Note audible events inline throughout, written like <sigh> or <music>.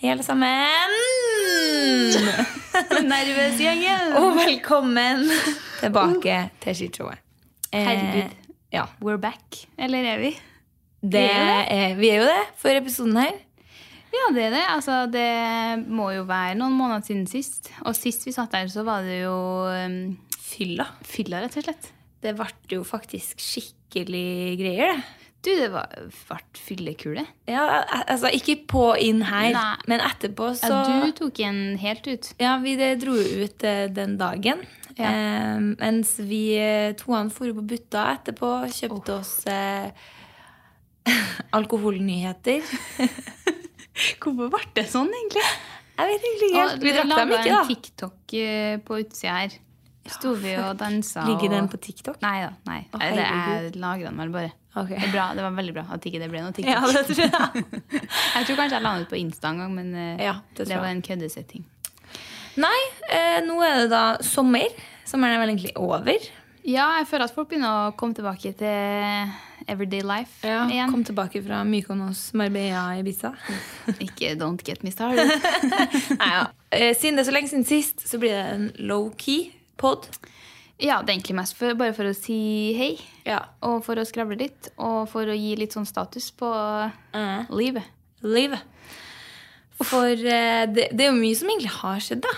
Hei, alle sammen! Nervøs gjengen. Og velkommen tilbake til skishowet. Eh, Herregud. Ja, We're back. Eller er vi? det, er eh, vi er jo det for episoden her. Ja, det er det. Altså, det må jo være noen måneder siden sist. Og sist vi satt der, så var det jo um, Fylla. fylla, rett og slett. Det ble jo faktisk skikkelig greier, det. Du, det var, vart fyllekule. Ja, al- altså ikke på inn her, Nei. men etterpå så Ja, du tok en helt ut. Ja, vi det dro jo ut eh, den dagen. Ja. Eh, mens vi eh, toene for på butta etterpå, kjøpte oss eh, <laughs> alkoholnyheter. Hvorfor ble det sånn, egentlig? Jeg vet egentlig ikke helt. Vi drakk dem ikke, en da. TikTok eh, på utsida her. Sto vi og dansa Ligger den og på TikTok? Nei da. Nei. Å, det er lagra den vel bare. Ok. Det, er bra, det var veldig bra at ikke det ble noe TikTok. Ja, <laughs> det tror jeg. Jeg tror kanskje jeg la den ut på Insta en gang, men eh, <laughs> Ja, det det, tror jeg. var en køddesetting. Nei, eh, nå er det da sommer. Sommeren er vel egentlig over. Ja, jeg føler at folk begynner å komme tilbake til everyday life igjen. Kom tilbake fra Mykonos, Marbella, Ibiza. Ikke don't get me started. <laughs> Nei, ja. Eh, Siden det er så lenge siden sist, så blir det en low-key pod. ja, det er egentlig mest for, bare for å si hei, Ja. og for å skravle litt, og for å gi litt sånn status på livet. Liv. Eh, For eh, det, det er jo mye som egentlig har skjedd, da.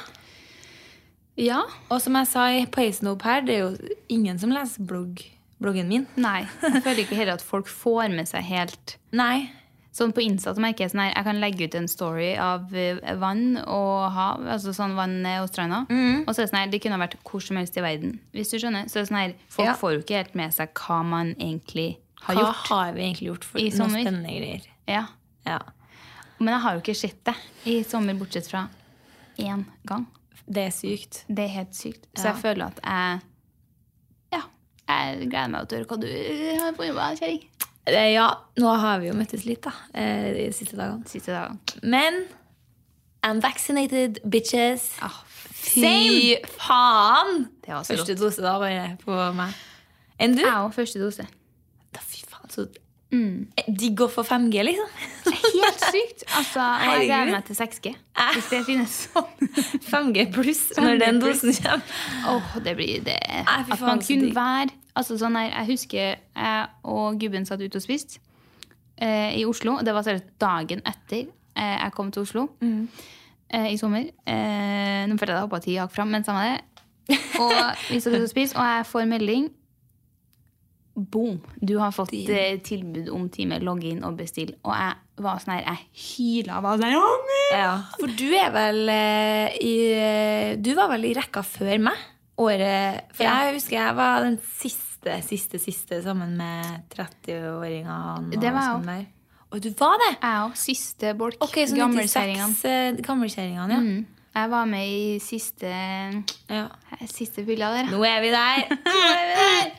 Ja. Og som jeg sa i- på Acedope her, det er jo ingen som leser blogg, bloggen min. Nei, jeg føler ikke heller at folk får med seg helt Nei. Sånn på Insta så merker jeg sånn her, jeg kan legge ut en story av eh, vann og hav, altså sånn vann eh, og stranda. Mhm. Og så er det sånn her, det kunne ha vært hvor som helst i verden, hvis du skjønner. Så det er sånn her, folk Ja. får jo ikke helt med seg hva man egentlig har Hva gjort. har vi egentlig gjort for I noen sommer? spennende greier? Ja. Ja. Men jeg har jo ikke sett det i sommer, bortsett fra én gang. Det er sykt. Det er helt sykt. Så jeg føler at jeg, ja, jeg gleder meg til å høre hva du har funnet på, kjæring. Eh, Ja, nå har vi jo møttes litt, da. eh, De siste dagene. Siste dagen. Men I'm vaccinated, bitches. Ah, Fy faen! Det var så rått. Første dose da var jeg på meg. Enn du? Jeg òg, første dose. Da, fy faen, så Eh, digg å få 5G, <laughs> liksom. Helt sykt. Altså, og jeg gleder meg til 6G. Hvis det finnes sånn. 5G pluss når den dosen kommer. Åh, det blir det. Nei, fy At faen, man så kunne digg. være altså, sånn her, Jeg husker jeg og gubben satt ute og spiste eh, i Oslo. Det var seriøst dagen etter eh, jeg kom til Oslo Mm. eh, i sommer. Eh, nå føler jeg at jeg hoppa ti hakk fram, men samme det. Og vi satt ute og spiste, og jeg får melding. Boom! Du har fått eh, tilbud om time, logge inn og bestill. Og jeg var sånn her, jeg hyla. Var sånn her, «Å, nei!» Ja. For du er vel eh, i eh, Du var vel i rekka før meg? Året For Ja. jeg husker jeg var den siste, siste, siste sammen med 30-åringa han og Det var jeg sånn der. Og du var det? Jeg òg. Siste bolk. Ok, så 96 eh, gammelkjerringene, ja. Mm. Jeg var med i siste eh, ja. Siste fylla der. Nå er vi <laughs> der.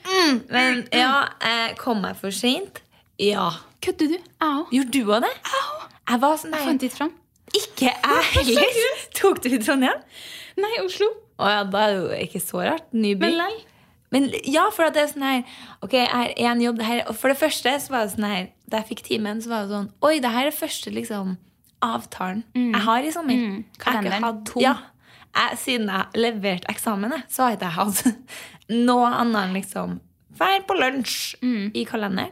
Mm, Men ja, eh, kom jeg for seint? Ja. Kødder du? Jeg òg. Gjorde du òg det? Jeg var sånn Fant Nei, ikke fram. ikke jeg heller. Tok du i Trondheim? Nei, Oslo. Å ja, da er det jo ikke så rart. Ny by. Men lei. Men ja, for at det er sånn her Ok, jeg har én jobb. Det her, og for det første så var det sånn her da jeg fikk timen, så var det sånn Oi, det her er første liksom avtalen jeg har i sommer. Mm. Jeg har ikke Kalenderen hatt- tom. Ja, jeg, siden jeg leverte eksamen, jeg, så har ikke jeg hatt <laughs> noe annet enn liksom Vær på lunsj Mm. i kalenderen.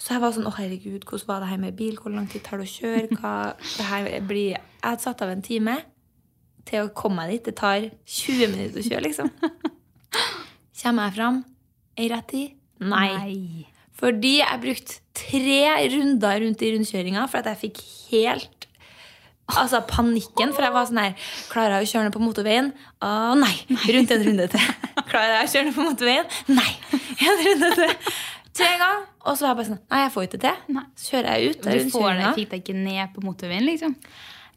Så jeg var sånn Å, herregud, hvordan var det her med bil? Hvor lang tid tar det å kjøre? Hva, <laughs> det her blir Jeg hadde satt av en time til å komme meg dit. Det tar 20 minutter å kjøre, liksom. <laughs> Kommer jeg fram i rett tid? Nei. Nei. Fordi jeg brukte tre runder rundt i rundkjøringa for at jeg fikk helt Altså panikken, for jeg var sånn her Klarer jeg å kjøre ned på motorveien? Å nei! Rundt en runde til. <laughs> Klarer jeg å kjøre ned på motorveien? Nei! En runde til. Tre ganger. Og så var jeg bare sånn Nei, jeg får ikke til. Nei. Så kjører jeg ut av Du får det, rundkjøringa. fikk deg ikke ned på motorveien, liksom?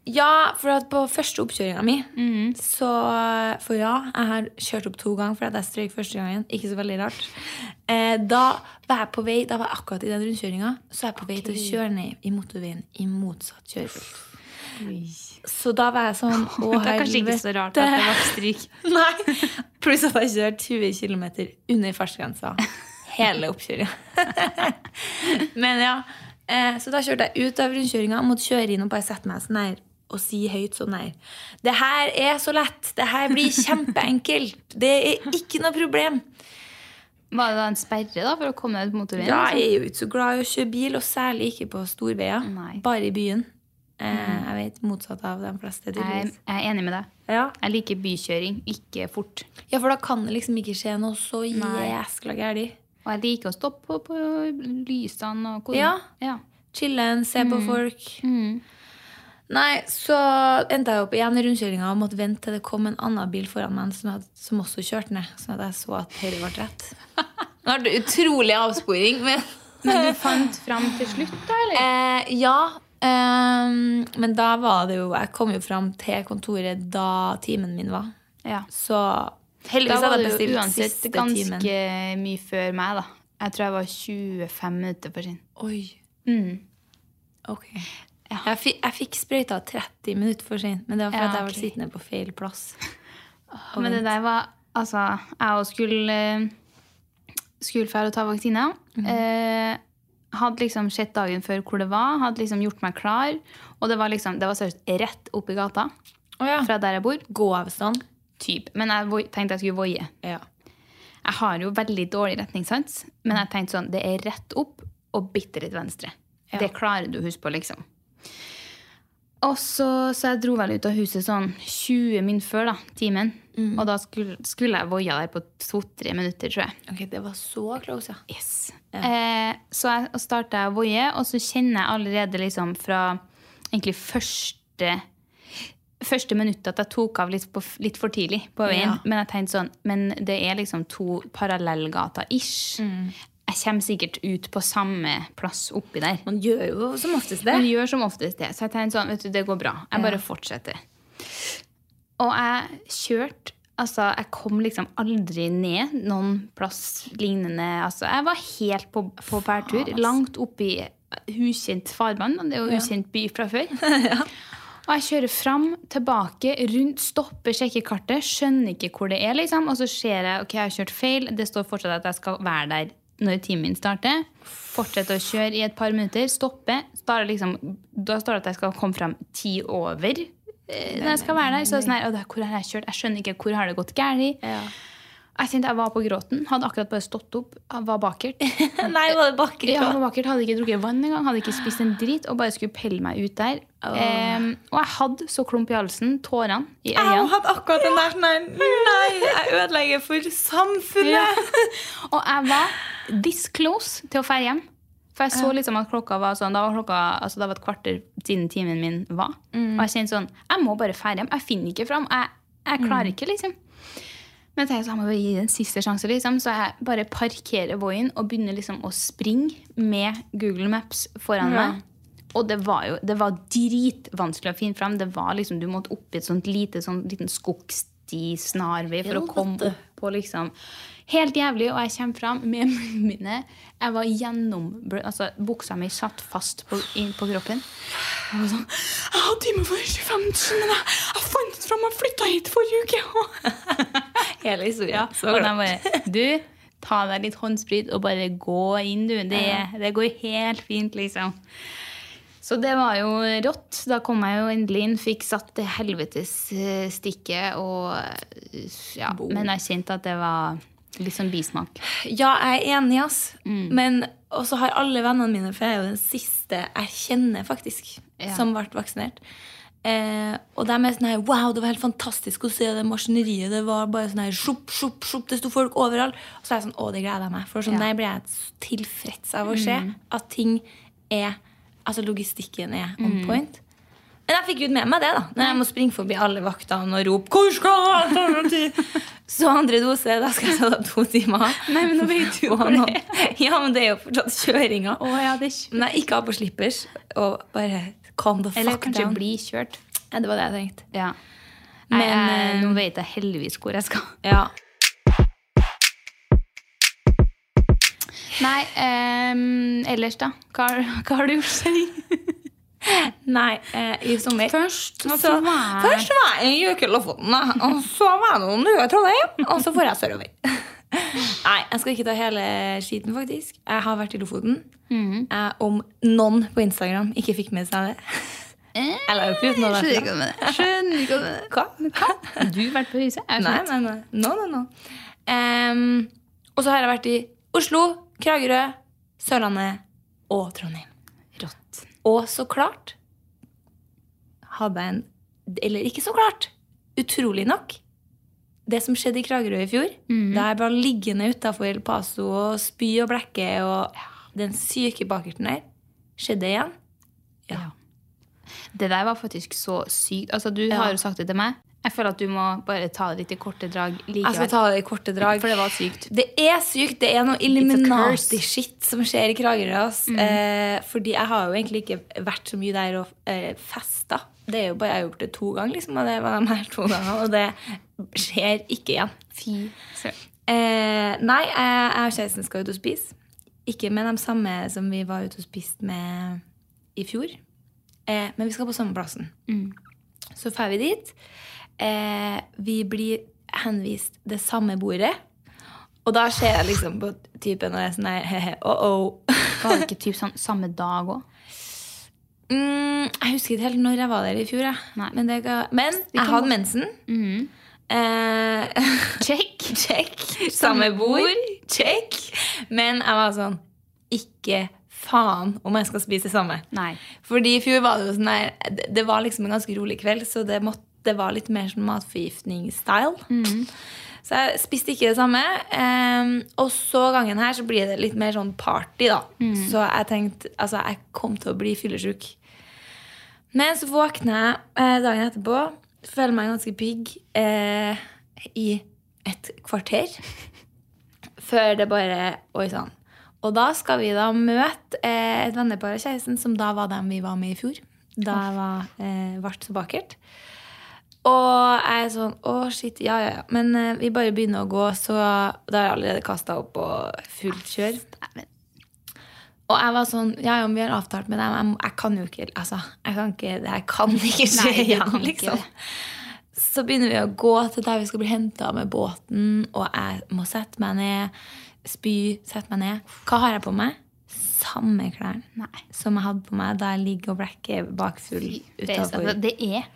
Ja, for at på første oppkjøringa mi Mm. Så, For ja, jeg har kjørt opp to ganger fordi at jeg strøyk første gangen. Ikke så veldig rart. Eh, da var jeg på vei, da var jeg akkurat i den rundkjøringa, så er jeg på vei til å kjøre ned i motorveien i motsatt kjørefelt. Så da var jeg sånn Å, <laughs> Det er kanskje ikke så rart at det var stryk. <laughs> Nei. Pluss at jeg kjører 20 km under fartsgrensa hele oppkjøringa. <laughs> Men ja. eh, Så da kjørte jeg ut av rundkjøringa, måtte kjøre inn og bare sette meg sånn her og si høyt sånn her Det her er så lett! Det her blir kjempeenkelt! Det er ikke noe problem! Var det da en sperre da for å komme deg ut på motorveien? Ja, Mm. liksom? jeg er jo ikke så glad i å kjøre bil, og særlig ikke på storveier. Nei. Bare i byen. Eh, jeg vet, Motsatt av de fleste. jeg, tydeligvis. jeg er enig med deg. Ja. Jeg liker bykjøring, ikke fort. ja, for da kan det liksom ikke skje noe så jæskla gærent. Og jeg liker å stoppe på, på lysene og hvor Ja. ja. Chille'n, se på folk. Mm. Nei, så endte jeg opp igjen i rundkjøringa og måtte vente til det kom en annen bil foran meg som, hadde, som også kjørte ned. Sånn at jeg så at høyre ble rett. <laughs> Nå ble det utrolig avsporing, men Men du fant fram til slutt, da? eller? <laughs> eh, Ja. ehm, men da var det jo Jeg kom jo fram til kontoret da timen min var. Ja. Så Da heldigvis var hadde det jeg jo bestilt uansett siste ganske timen. mye før meg, da. Jeg tror jeg var 25 minutter for sin. Oi, Mm. ok. Ja. Jeg, fikk, jeg fikk sprøyta 30 minutter for sent, men det var fordi Ja, at jeg ble ok. sittende på feil plass. Og Men det der var Altså, jeg òg skulle eh, Skulle fære og ta vaksine. Mhm. Eh, hadde liksom sett dagen før hvor det var, hadde liksom gjort meg klar. Og det var liksom, det var seriøst rett oppi gata Å ja. fra der jeg bor. Gåavstand. Typ. Men jeg voi- tenkte jeg skulle voie. Ja. Jeg har jo veldig dårlig retningssans, men jeg tenkte sånn, det er rett opp og bitte litt venstre. Ja. Det klarer du å huske på, liksom. Og så, så jeg dro vel ut av huset sånn 20 min før da, timen. Og da skulle, skulle jeg voia der på to-tre minutter, tror jeg. Ok, det var så close, ja. Yes. Eh, så jeg starta jeg å voie, og så kjenner jeg allerede liksom fra egentlig første Første minuttet at jeg tok av litt, på, litt for tidlig på veien. Ja. Men jeg tenkte sånn, men det er liksom to parallellgater-ish. Mm. Jeg kommer sikkert ut på samme plass oppi der. Man gjør jo som oftest Men det. gjør som oftest det. Så jeg tenkte sånn, vet du, det går bra. Jeg bare fortsetter. Og jeg kjørte Altså, jeg kom liksom aldri ned noen plass lignende. Altså, jeg var helt på, på bærtur. Langt oppi ukjent farvann. og Det er jo ukjent by fra før. Og jeg kjører fram, tilbake, rundt, stopper, sjekker kartet, skjønner ikke hvor det er, liksom. Og så ser jeg ok, jeg har kjørt feil, det står fortsatt at jeg skal være der når timen min starter. Fortsetter å kjøre i et par minutter, stopper. Står det liksom, da står det at jeg skal komme fram ti over eh, når jeg skal være der. Så er det sånn her, «Å, det er- hvor har jeg kjørt? Jeg skjønner ikke, hvor har det gått galt? Ja. Jeg kjente jeg var på gråten, hadde akkurat bare stått opp, jeg var bakert. <laughs> Nei, var det bakker? Ja, han var vakkert, hadde ikke drukket vann engang, hadde ikke spist en drit og bare skulle pelle meg ut der. Åh. Em, og jeg hadde så klump i halsen, tårene i Jeg øynene. hadde akkurat den der nei, nei, jeg ødelegger for Ja. samfunnet! Og jeg var this close til å fære hjem. For jeg så liksom at klokka var sånn, da var klokka, altså det var et kvarter siden timen min var. Og jeg kjente sånn, jeg må bare fære hjem, jeg finner ikke fram, jeg, jeg klarer ikke liksom. Men jeg tenkte sånn, jeg må bare gi det en siste sjanse liksom, så jeg bare parkerer voien og begynner liksom å springe med Google Maps foran meg. Og det var jo det var dritvanskelig å finne fram. Det var liksom, Du måtte opp i et sånt lite sånn liten skogsti, snarvei for Ja, å komme vet du. opp og liksom Helt jævlig. Og jeg kommer fram med munnen mine. Jeg var gjennomblødd. Altså, buksa mi satt fast på, inn på kroppen. Jeg var sånn Jeg hadde time for 25 minutter, men jeg, jeg fant ikke fram. Jeg flytta hit forrige uke. og- <laughs> Hele historien. <laughs> så og glad. de bare Du, ta deg litt håndsprit og bare gå inn, du. Det, det går helt fint, liksom. Så det var jo rått. Da kom jeg jo endelig inn, fikk satt det helvetes eh, stikket og eh, Ja, Bo. men jeg kjente at det var litt sånn bismak. Ja, jeg er enig, ass. Mm. Men også har alle vennene mine, for jeg er jo den siste jeg kjenner, faktisk, Ja. som ble vaksinert. Eh, og de er sånn her Wow, det var helt fantastisk å se det maskineriet. Det var bare sånn her sjopp, sjopp, sjopp. Det sto folk overalt. Og så er jeg sånn Å, det gleder jeg meg. For sånn Ja. Mm. der blir jeg så tilfreds av å se at ting er Altså logistikken er on Mm. point. Men jeg fikk jo med meg det, da. Når jeg må springe forbi alle vaktene og rope 'Hvor skal jeg?' Så andre dose, da skal jeg ta det to timer. Nei, men nå vet du <laughs> Og hvor det nå- Ja, men det er jo fortsatt kjøringa. Å ja, det er Men jeg ikke ha på slippers og bare calm the Eller fuck kanskje down. bli kjørt. Ja, det var det jeg tenkte. Ja. Men Men, eh, nå vet jeg heldigvis hvor jeg skal. Ja. Nei, ehm, ellers, da? Hva, har- hva har du gjort? <laughs> Nei, eh, i sommer Først Og så så- var- Først var jeg i Lofoten, da. og så var det noen uker i Trondheim, og så får jeg sørover. <laughs> Nei, jeg skal ikke ta hele skiten, faktisk. Mhm. eh, Jeg har vært i Lofoten. Jeg, om noen på Instagram ikke fikk med seg det, Eh, Jeg la jo ikke ut noe derfra. Skjønner ikke hva du mener. Skjønner ikke hva du mener. Hva? Har du vært på Riise? Jeg har Nei, skjønt. nei, nei. No, no, no. Em, og så har jeg vært i Oslo, Kragerø, Sørlandet og Trondheim. Rått. Og så klart hadde jeg en Eller ikke så klart. Utrolig nok. Det som skjedde i Kragerø i fjor, Mhm. da jeg ble liggende utafor Paso og spy og blekke og den syke bakerten der, skjedde igjen. Ja. Det der var faktisk så sykt. Altså, du Ja. har jo sagt det til meg. Jeg føler at du må bare ta det litt i korte drag Jeg skal likevel. ta det i korte drag. For det var sykt. Det er sykt. Det er noe curse. Mm. Illuminati-shit som skjer i Kragerø. ass. Eh, fordi jeg har jo egentlig ikke vært så mye der og eh, festa. Det er jo bare, jeg har gjort det to ganger, liksom, og det var de her to gangene. Og det skjer ikke igjen. Fy søren. Eh, nei, jeg, jeg og kjæresten skal ut og spise. Ikke med de samme som vi var ute og spiste med i fjor. Eh, men vi skal på samme plassen. Så drar vi dit. Eh, vi blir henvist det samme bordet. Og da ser jeg liksom på typen og er sånn her he-he, oh-oh. Var det ikke typ sånn samme dag òg? <laughs> Mm, jeg husker ikke helt når jeg var der i fjor. Jeg. Nei. Men, det ga... men kan jeg hadde mensen. Mm-hmm. Eh, <laughs> Check! Check. Samme bord. Check. Men jeg var sånn Ikke faen om jeg skal spise samme. Nei. Fordi i fjor var det jo sånn der det- Det var liksom en ganske rolig kveld, så det, måtte, det var litt mer sånn matforgiftning-style. Så jeg spiste ikke det samme. ehm, og så gangen her så blir det litt mer sånn party, da. Så jeg tenkte Altså, jeg kom til å bli fyllesyk. Men så våkner jeg eh, dagen etterpå, føler meg ganske pigg eh, i et kvarter. Før det bare Oi sann. Og da skal vi da møte eh, et vennepar av kjæresten, som da var dem vi var med i fjor. Da jeg var, eh, ble så bakert. Og jeg er sånn Å, shit. Ja, ja, ja. Men eh, vi bare begynner å gå, så da har jeg allerede kasta opp og fullt kjør. Dæven. Og jeg var sånn Ja, ja, men vi har avtalt med dem. Jeg, må- jeg kan jo ikke Altså, jeg kan ikke Det her kan ikke skje Nei, det igjen, kan ikke liksom. det. Så begynner vi å gå til der vi skal bli henta med båten, og jeg må sette meg ned. Spy, sette meg ned. Hva har jeg på meg? Samme klærne Nei. som jeg hadde på meg da jeg ligger og blekker bakfull Det er, altså, utafor. det er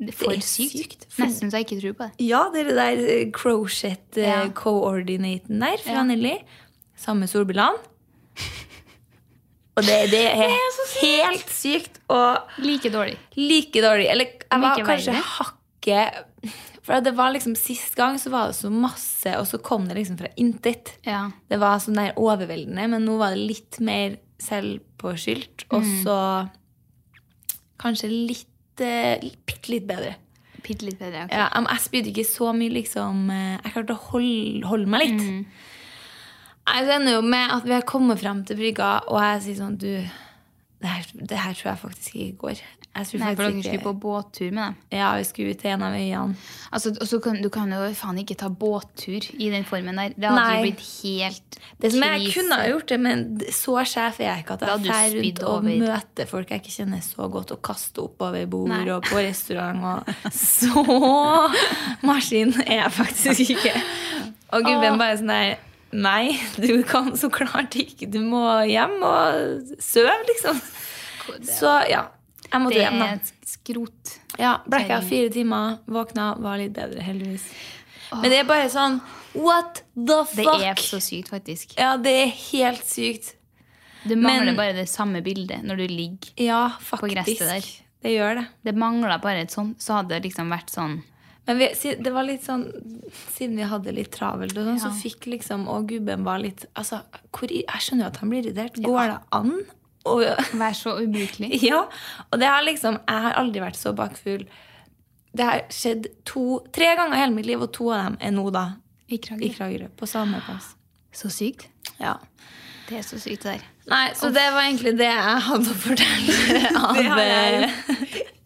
det er for Det er sykt. sykt, for- Nesten så jeg ikke tror på det. Ja, det er det der eh, crochet eh, Ja. coordinaten der fra Ja. Nelly. Samme solbrillene. Og det, <laughs> det er helt sykt. Og Like dårlig. like dårlig. Eller jeg var Like kanskje verre. hakket For det var liksom sist gang så var det så masse, og så kom det liksom fra intet. Ja. Det var sånn der overveldende, men nå var det litt mer selvpåskyldt. Og Mm. så kanskje litt eh, Bitte litt bedre. Bitte litt bedre. ok. Ja, jeg jeg spydde ikke så mye, liksom. eh, Jeg klarte å holde, holde meg Mm. litt. Nei, Det ender jo med at vi har kommet frem til brygga, og jeg sier sånn Du, det her, det her tror jeg faktisk ikke går. Jeg tror Nei, for dere faktisk skulle ikke på båttur med dem. Ja, vi skulle ut til en av øyene. Altså, og så kan, du kan jo faen ikke ta båttur i den formen der. Det hadde Nei. jo blitt helt Det som jeg krise. kunne ha gjort det, men d- så sjef er jeg ikke at Da jeg hadde du drar rundt spydd og over. møter folk jeg ikke kjenner så godt, og kaster oppover bord Nei. og på restaurant og Så maskin er jeg faktisk ikke. Og gubben Åh. bare sånn der Nei, du kan så klart ikke. Du må hjem og sove, liksom. Så ja. Jeg måtte Det hjem, da. er et skrot. Ja, blekka fire timer, våkna, var litt bedre, heldigvis. Men det er bare sånn What the Det fuck? er så sykt, faktisk. Ja, det er helt sykt. Det mangler Men- bare det samme bildet når du ligger. Ja, faktisk. gresset der. Det gjør det. Det mangler bare et sånt, så hadde det liksom vært sånn Men vi, si- det var litt sånn, siden vi hadde litt travelt, og sånn, så Ja. fikk liksom Og gubben var litt altså, hvor, i- Jeg skjønner jo at han blir irritert. Går det an? Og, <laughs> Vær så ubrukelig. ja, og det har liksom Jeg har aldri vært så bakfull. Det har skjedd to, tre ganger i hele mitt liv, og to av dem er nå, da. I I Kragerø. Kragerø. På samme plass. Så sykt. Ja. Det er så sykt, det der. Nei, så det var egentlig det jeg hadde å <laughs> fortelle. Av, eh, Det har jeg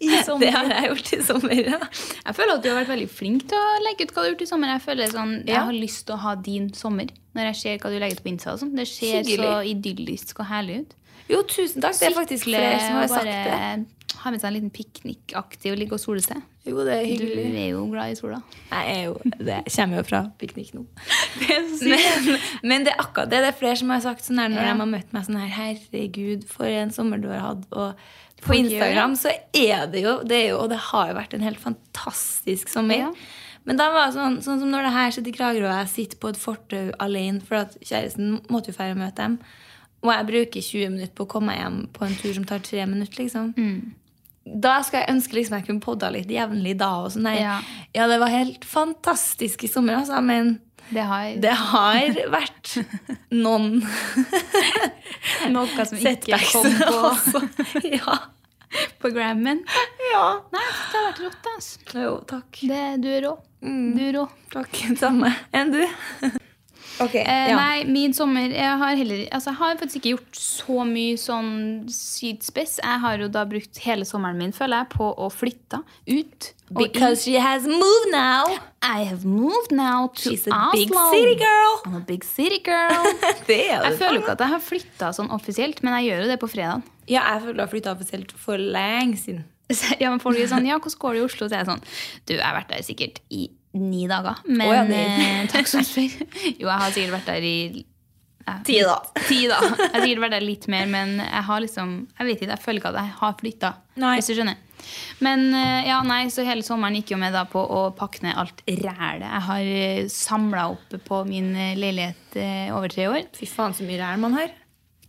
I <laughs> det har jeg gjort i sommer. Ja. Jeg føler at du har vært veldig flink til å legge ut hva du har gjort i sommer. Jeg føler sånn, jeg Ja. har lyst til å ha din sommer når jeg ser hva du legger ut på Insta. og sånn. Det ser så idyllisk og herlig ut. Jo, tusen takk. Det er faktisk Skikkelig flere som har å sagt det. bare Ha med seg en liten piknikaktig og ligge og sole seg. Jo, det er Du er jo glad i sola. Jeg er jo, det kommer jo fra piknik nå. <laughs> Det er så sykt. Men, men det er akkurat det. Det er flere som har sagt sånn her når Ja. de har møtt meg sånn her Herregud, for en sommer du har hatt. Og på Folk gjør Instagram så er det jo det er jo, Og det har jo vært en helt fantastisk sommer. Ja. Men da var det sånn, sånn som når det her sitter i Kragerø, og jeg sitter på et fortau alene, for at kjæresten måtte jo dra og møte dem. Og jeg bruker 20 minutter på å komme meg hjem på en tur som tar tre minutter. liksom Mm. da skal jeg ønske liksom jeg kunne podda litt jevnlig da. Og sånn. Nei, ja. Ja. det var helt fantastisk i sommer, altså, men Det har det har vært noen noe som ikke setbacks kom på, <laughs> også. Ja. på Grammen. ja. Nei, det har vært rått, ass. Jo, takk. Det, du er rå. Mm. Du er rå. Takk. Samme. Enn du? Ok. Eh, ja. Nei, min sommer Jeg har heller altså, jeg har faktisk ikke gjort så mye sånn sydspiss. Jeg har jo da brukt hele sommeren min, føler jeg, på å flytte ut. og Because she has moved now. inn. I have moved now to She's a Oslo. big city girl. <laughs> I'm a big city girl. Det er Jeg føler jo ikke at jeg har flytta sånn offisielt, men jeg gjør jo det på fredag. <laughs> Ja, jeg føler jeg har flytta offisielt for lenge siden. Ja, men folk er sånn, ja, hvordan går det i Oslo? Så er jeg sånn, du, jeg har vært der sikkert i ni dager. Men Å, ja, det eh, <laughs> er- takk som spør. Jo, jeg har sikkert vært der i eh, Ti da. Ti da. Jeg har sikkert vært der litt mer, men jeg har liksom, jeg vet ikke, jeg føler ikke at jeg har flytta. Nei. Hvis du skjønner. Men eh, ja, nei, så hele sommeren gikk jo med da på å pakke ned alt rælet. Jeg har samla opp på min eh, leilighet eh, over tre år. Fy faen, så mye ræl man har.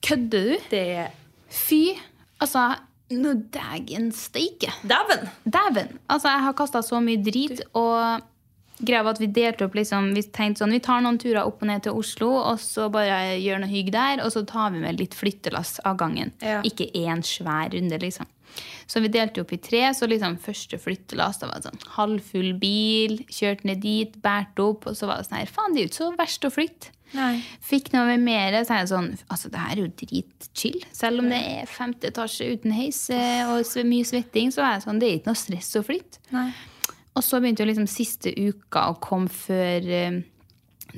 Kødder du? Det er Fy, altså, nå dægen steike. Dæven! Dæven! Altså, jeg har kasta så mye drit. Og greia var at vi delte opp liksom, Vi tenkte sånn, vi tar noen turer opp og ned til Oslo, og så bare gjør noe hygg der. Og så tar vi med litt flyttelass av gangen. Ja. Ikke én svær runde, liksom. Så vi delte opp i tre. Så liksom første flyttelass da var det sånn halvfull bil. Kjørte ned dit, båret opp. Og så var det sånn her, faen, det er jo ikke så verst å flytte. Nei. Fikk noe mer, så er jeg sånn Altså, det her er jo dritchill. Selv om det er femte etasje uten heis eh, og sve- mye svetting, så er jeg sånn, det er ikke noe stress å flytte. Nei. Og så begynte jo liksom siste uka å komme før eh,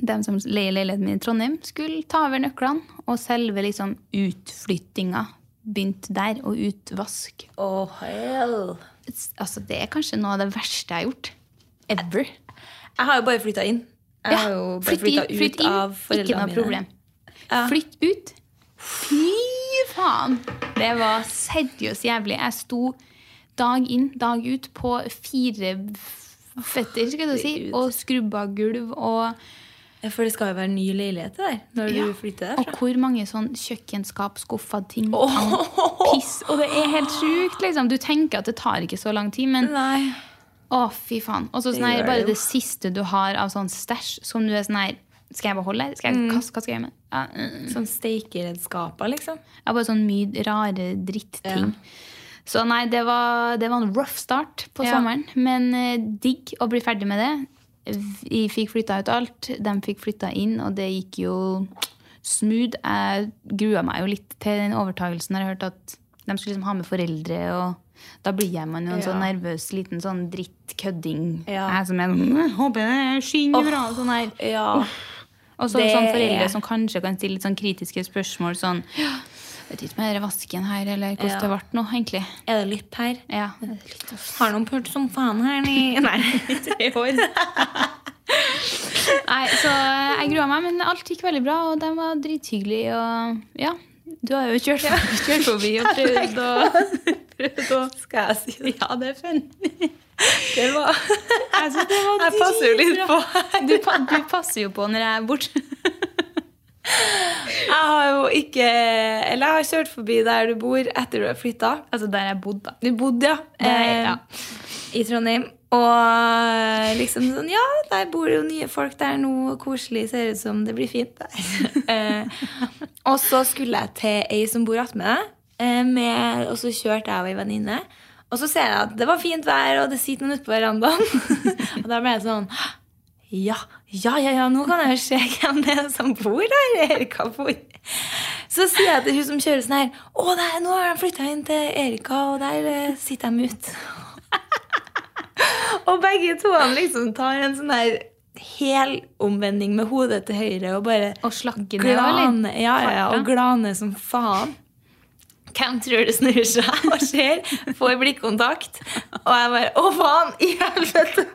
dem som leier leiligheten min i Trondheim, skulle ta over nøklene. Og selve liksom utflyttinga begynte der, og utvask. Oh, hell. It's- Altså, det er kanskje noe av det verste jeg har gjort. Ever. Jeg har jo bare flytta inn. Jeg har jo bare flytt flytta inn, ut flytt inn, av Ikke foreldrene noe mine. problem. Flytt ut. Fy faen! Det var seriøst jævlig. Jeg sto dag inn, dag ut på fire f- føtter skal jeg si, Herregud. og skrubba gulv. Og, Ja, For det skal jo være ny leilighet til deg når Ja. du flytter og derfra. hvor mange sånn kjøkkenskap, skuffa ting. Åh. Piss. Og det er helt sjukt, liksom. Du tenker at det tar ikke så lang tid, men Nei. Å, fy faen. Og så sånn Det her, gjør bare det jo. det siste du har av sånn stæsj som du er sånn her Skal jeg beholde her? Skal jeg kaste? Hva skal jeg gjøre med ja, mm, mm. <laughs> Sånn steikeredskaper, liksom. Ja, Bare sånn mye rare dritting. Så nei, det var, det var en rough start på Ja. sommeren. Men eh, digg å bli ferdig med det. Vi fikk flytta ut alt. De fikk flytta inn, og det gikk jo smooth. Jeg grua meg jo litt til den overtagelsen når jeg hørte at de skulle liksom ha med foreldre. og da blir jeg man jo en Ja. sånn nervøs liten sånn drittkødding. Ja. Jeg som er sånn «Jeg Håper det skinner bra. og Sånn her. Ja. Og så Det sånn foreldre er- som kanskje kan stille litt sånn kritiske spørsmål sånn Vet ikke med den vasken her, eller hvordan Ja. det ble nå, egentlig. Er det lypp her? <laughs> Ja. Har noen pult som faen her <laughs> i Nei. tre år. Nei, så eh, jeg grua meg, men alt gikk veldig bra, og de var drithyggelige, og ja. Du har jo kjørt, kjørt forbi <laughs> og prøvd å prøvd å- Skal jeg si det? Ja, det er funny. Det var Jeg synes det var Jeg passer jo litt dritbra. på. Du, pa- du passer jo på når jeg er borte. Jeg har jo ikke Eller jeg har kjørt forbi der du bor etter du har flytta. <laughs> Altså der jeg bodde, da. Du bodde, ja. Eh, Det- ja. I Trondheim. Og liksom sånn Ja, der bor jo nye folk der nå. Koselig. Ser ut som det blir fint <laughs> der. eh, og så skulle jeg til ei som bor attmed deg, eh, med- og så kjørte jeg og ei venninne. Og så ser jeg at det var fint vær, og det sitter noen ute på verandaen. <laughs> og da ble jeg sånn «Hå! Ja, ja, ja, ja, nå kan jeg jo se hvem det er som bor der. Erika bor. Så sier jeg til hun som kjører sånn her Å, nei, nå har de flytta inn til Erika, og der eh, sitter de ute. <laughs> Og begge to han liksom tar en sånn her hel omvending med hodet til høyre og bare Og slakke ned, eller? glane, ja, ja, ja, og glane som faen. Hvem tror du snur seg og ser? Får blikkontakt. Og jeg bare Å, faen! I helvete!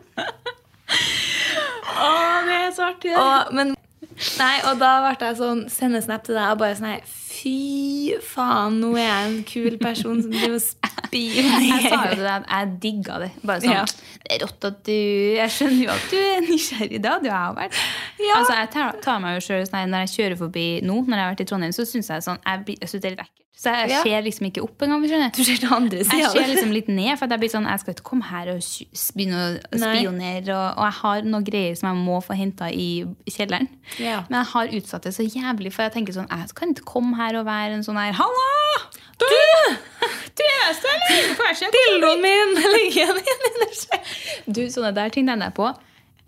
Å, det er så artig. Og, men Nei, og da ble jeg sånn sende snap til deg og bare sånn her Fy faen, nå er jeg en kul person som driver og <laughs> Jeg sa jo spionerer. til deg at jeg digga det. Bare sånn, Ja. Det er rått at du Jeg skjønner jo at du er nysgjerrig, da. Du har vært Ja. Altså, Jeg tar, tar meg jo selv, sånn, her, Når jeg kjører forbi nå, når jeg har vært i Trondheim, så syns jeg sånn jeg, blir- jeg synes det er litt ekkelt. Så jeg Ja. ser liksom ikke opp engang. skjønner Du ser til andre jeg sida. ser liksom litt ned, for at jeg blir sånn, jeg skal ikke komme her og sj- begynne å Nei. spionere. Og, og jeg har noen greier som jeg må få henta i kjelleren. Ja. Men jeg har utsatt det så jævlig, for jeg tenker sånn, jeg kan ikke komme her og være en sånn her Halla! Du! Tøs, eller? Får jeg se <laughs> hvordan Dildoen min ligger igjen innerst. Du, sånne der ting den er på.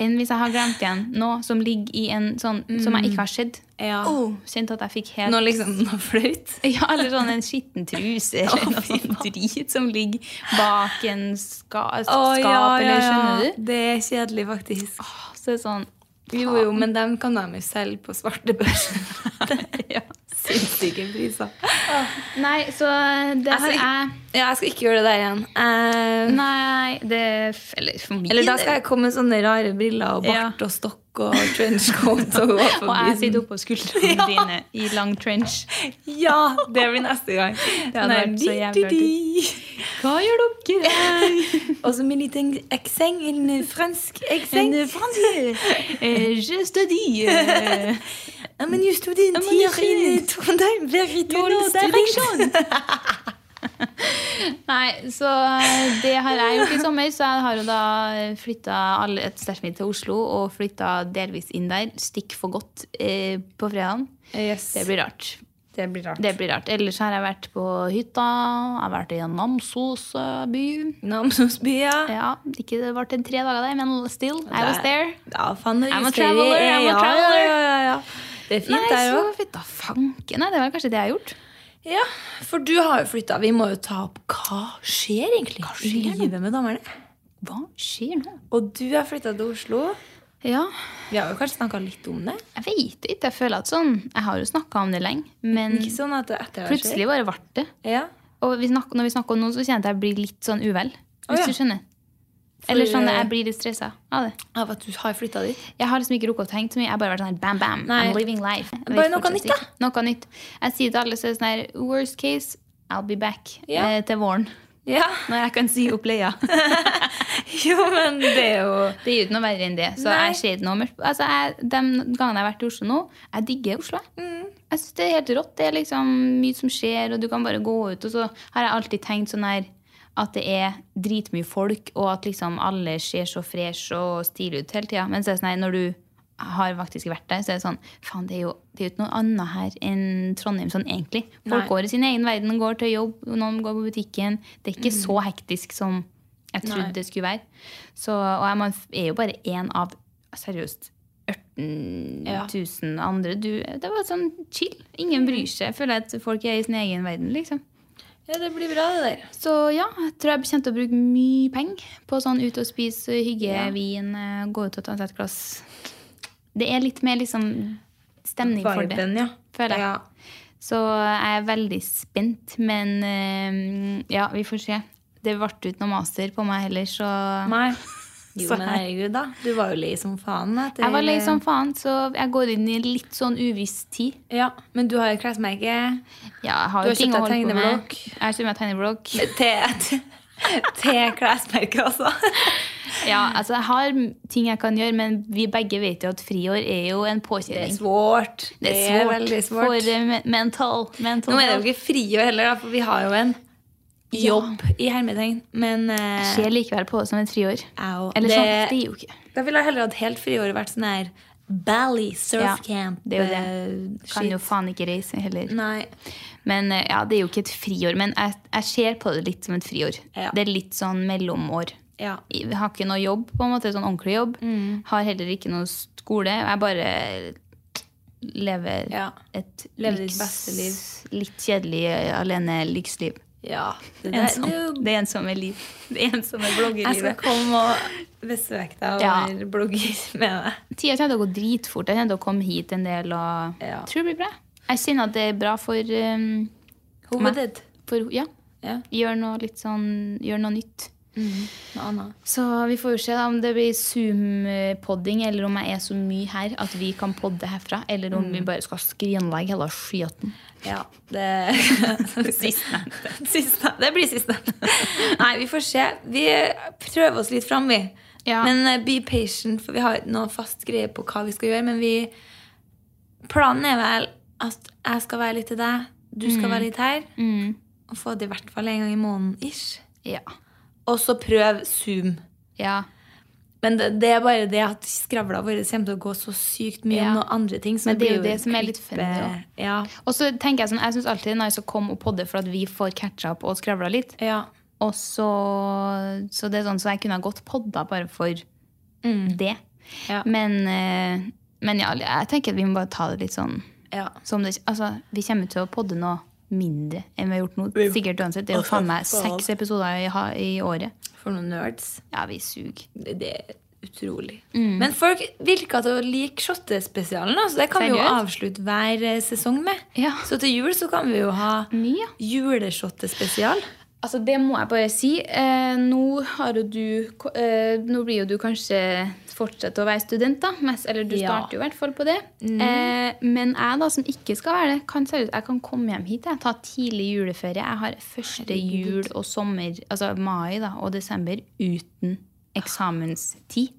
Enn hvis jeg har glemt igjen noe som ligger i en sånn som Mm. jeg ikke har sett. Ja. Oh, kjente at jeg fikk helt Nå liksom noe flaut. <laughs> ja, Eller sånn en skitten truse eller <laughs> Å, noe fy sånn drit som ligger bak en ska, skap. ja, eller ja. skjønner du? Det er kjedelig, faktisk. Åh, Så det er sånn <laughs> Jo, jo, men dem kan de jo selge på svartebørsen. ja. <laughs> Sinnssyke priser. Nei, så det Altså, har jeg Ja, jeg skal ikke gjøre det der igjen. Eh, Nei, det f- Eller for min eller da skal jeg komme med sånne rare briller og bart og stokk og trenchcoat og gå <laughs> Og jeg forbi. sitter oppå <laughs> skuldrene dine i lang trench. <laughs> Ja, det blir neste gang. hadde Nei, vært så jævlig di-di-di. Hva gjør dere? <laughs> Og så med en liten ekseng, en eh, fransk ekseng. En Eh, je studie. eh, Ja, men just det, en men tier just i det. Trondheim blir i you know, tolv student. direction. <laughs> Nei, så eh, det har jeg gjort i sommer. Så jeg har jo da flytta alle stæsjen min til Oslo og flytta delvis inn der. Stikk for godt eh, på fredagen. Det blir rart. Det blir rart. Det blir rart. Ellers har jeg vært på hytta, jeg har vært i Namsos eh, by. Namsosbya. Ja, ikke det var til tre dager der, men still, I was there. Ja, faen, det er I'm a just det vi traveler, er. I'm a Ja, traveler. Ja, ja, ja, ja. Det er fint Nei, der så òg. fint da, fanken. Nei, det var kanskje det jeg har gjort. Ja, for du har jo flytta. Vi må jo ta opp hva skjer egentlig hva skjer nå? livet med damene. Hva skjer nå? Og du har flytta til Oslo. Ja, Vi har jo kanskje snakka litt om det. jeg vet ikke. Jeg føler at sånn, jeg har jo snakka om det lenge, men Ikke sånn at det etter har skjedd. Mm. plutselig bare ble det. Ja. Og vi snak, når vi snakker om noe, så kjente jeg at jeg blir litt sånn uvel. Å, Hvis ja. du skjønner. For- eh, Eller sånn, jeg blir litt stressa av det. Av at du har flytta dit. Jeg har liksom ikke rukket å tenke så mye. Jeg har bare vært sånn her, bam, bam. Nei. I'm living life. Jeg vet Bare noe fortsatt nytt, da. ikke. Noe nytt. Jeg sier til alle så er det sånn her, worst case, I'll be back Ja. eh, til våren. Ja, <laughs> Når jeg kan si opp leia. jo, men det er jo Det er jo ikke noe verre enn det. Så Nei. jeg ser ikke noe mørkt. Altså, jeg, de gangene jeg har vært i Oslo nå, jeg digger Oslo. jeg. Mm. Jeg synes det er helt rått. Det er liksom mye som skjer, og du kan bare gå ut. Og så har jeg alltid tenkt sånn her at det er dritmye folk, og at liksom alle ser så fresh og stilige ut hele tida. Men så er det sånn her, når du har faktisk vært der, så er det sånn Faen, det er jo det er jo ikke noe annet her enn Trondheim sånn egentlig. Folk Nei. går i sin egen verden, går til jobb, noen går på butikken. Det er ikke Mm. så hektisk som jeg trodde Nei. det skulle være. Så, og jeg- man er jo bare én av seriøst 18 Ja. Mm. 000 andre. Du, det var sånn chill. Ingen bryr seg. Jeg føler at folk er i sin egen verden, liksom. Ja, det blir bra, det der. Så ja, jeg tror jeg kommer til å bruke mye penger på sånn ut og spise hygge, vin, eh, gå ut og ta seg et glass. Det er litt mer liksom stemning for det, Viben, ja. føler jeg. Ja. Så jeg er veldig spent, men eh, ja, vi får se. Det ble ikke noe master på meg heller, så Nei. Jo, Så men her. herregud, da. Du var jo lei som faen. Etter, Jeg var lei som faen, så jeg går inn i litt sånn uviss tid. Ja, Men du har jo klesmerke Ja, jeg har Du jo har ting kjøpt å deg holde på med. tegneblokk. Jeg har kjøpt meg tegneblokk. til, <laughs> til klesmerket, <laughs> altså. Ja, altså jeg har ting jeg kan gjøre, men vi begge vet jo at friår er jo en Det er påkjenning. svårt. Det er svårt, veldig for svårt. eh, me- mental. mental. Nå er det jo ikke friår heller, da, for vi har jo en jobb i hermetegn. Men eh, Ser likevel på det som et friår. au, Eller det, sånn, det er jo ikke da ville jeg heller hatt helt friår og vært sånn her Bally Ja, surf camp. det er jo det. eh, Kan shit. jo faen ikke reise heller. Nei. Men eh, ja, det er jo ikke et friår. Men jeg, jeg ser på det litt som et friår. Ja. Det er litt sånn mellomår. Ja. Jeg har ikke noe jobb, på en måte, sånn ordentlig jobb. Har heller ikke noe skole. Jeg bare lever Ja. et Lever ditt lyks- beste liv. litt kjedelig eh, alene lyksliv. ja. Det, der, Ensom. det er jo- sånn- Det ensomme liv. <laughs> Det sånn- ensomme sånn- jeg skal bloggerlivet. komme og besøke deg og Ja. være blogger med deg. Tida kommer til å gå dritfort. Jeg kommer til å komme hit en del og Ja. tror det blir bra. Jeg kjenner at det er bra for, um, Hovedet. for Ja. Ja. Gjør noe litt sånn Gjør noe nytt. Noe annet. Så vi får jo se da om det blir Zoom-podding, eller om jeg er så mye her at vi kan podde herfra, eller om vi bare skal skrinlegge hele skiten. Ja, <laughs> det Sistnevnte. <laughs> det blir sistnevnte. Nei, vi får se. Vi prøver oss litt fram, vi. Ja. Men eh, be patient, for vi har ikke noe fast greie på hva vi skal gjøre. Men vi Planen er vel at jeg skal være litt til deg, du Mm. skal være litt her. Og få det i hvert fall en gang i måneden ish. Ja. Og så prøv Zoom. ja. Men det, det er bare det at skravla vår kommer til å gå så sykt mye Ja. om noen andre ting. Så Men det er jo blir det som er litt klippe- funny også. Ja. Og så tenker Jeg sånn, jeg syns alltid det er nice å komme og podde for at vi får catcha opp og skravla litt. ja. Og så, så det er sånn så jeg kunne ha godt podda bare for det. Ja. Men, eh, men ja, jeg tenker at vi må bare ta det litt sånn ja. Som det, altså, vi kommer til å podde noe mindre enn vi har gjort nå. Sikkert uansett. Det er jo faen meg seks episoder i, ha- i året. For noen nerds. Ja, vi suger. Det, det er utrolig. Men folk virka til å like shottespesialen, da, så det kan vi jo Seriøst? avslutte hver eh, sesong med. Ja. Så til jul så kan vi jo ha Ny, ja. juleshottespesial. Altså, det må jeg bare si. Eh, nå har jo du ko- eh, Nå blir jo du kanskje fortsatt å være student, da. Mest, eller du Ja. Mm. starter jo i hvert fall på det. Eh, men jeg, da, som ikke skal være det, kan seriøst Jeg kan komme hjem hit. Jeg tar tidlig juleferie. Jeg har første jul og sommer, altså mai da, og desember, uten eksamenstid.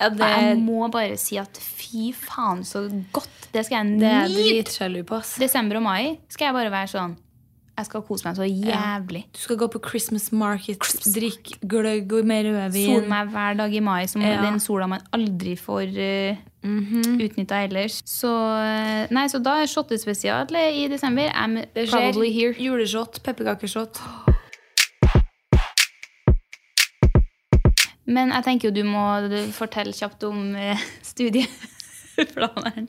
Ja, det, Jeg må bare si at fy faen, så godt. Det skal det er jeg jeg nyte. dritsjalu på. ass. Desember og mai skal jeg bare være sånn Jeg skal kose meg så jævlig. Du skal gå på Christmas market, drikke gløgg og mer rødvin. Sole meg hver dag i mai, som Ja. Mhm. den sola man aldri får uh, utnytta ellers. Så eh, Nei, så da er shottespesial i desember. I'm Det skjer. probably here. Juleshot, pepperkakeshot. Men jeg tenker jo du må du, fortelle kjapt om eh, <laughs> studieplaneren.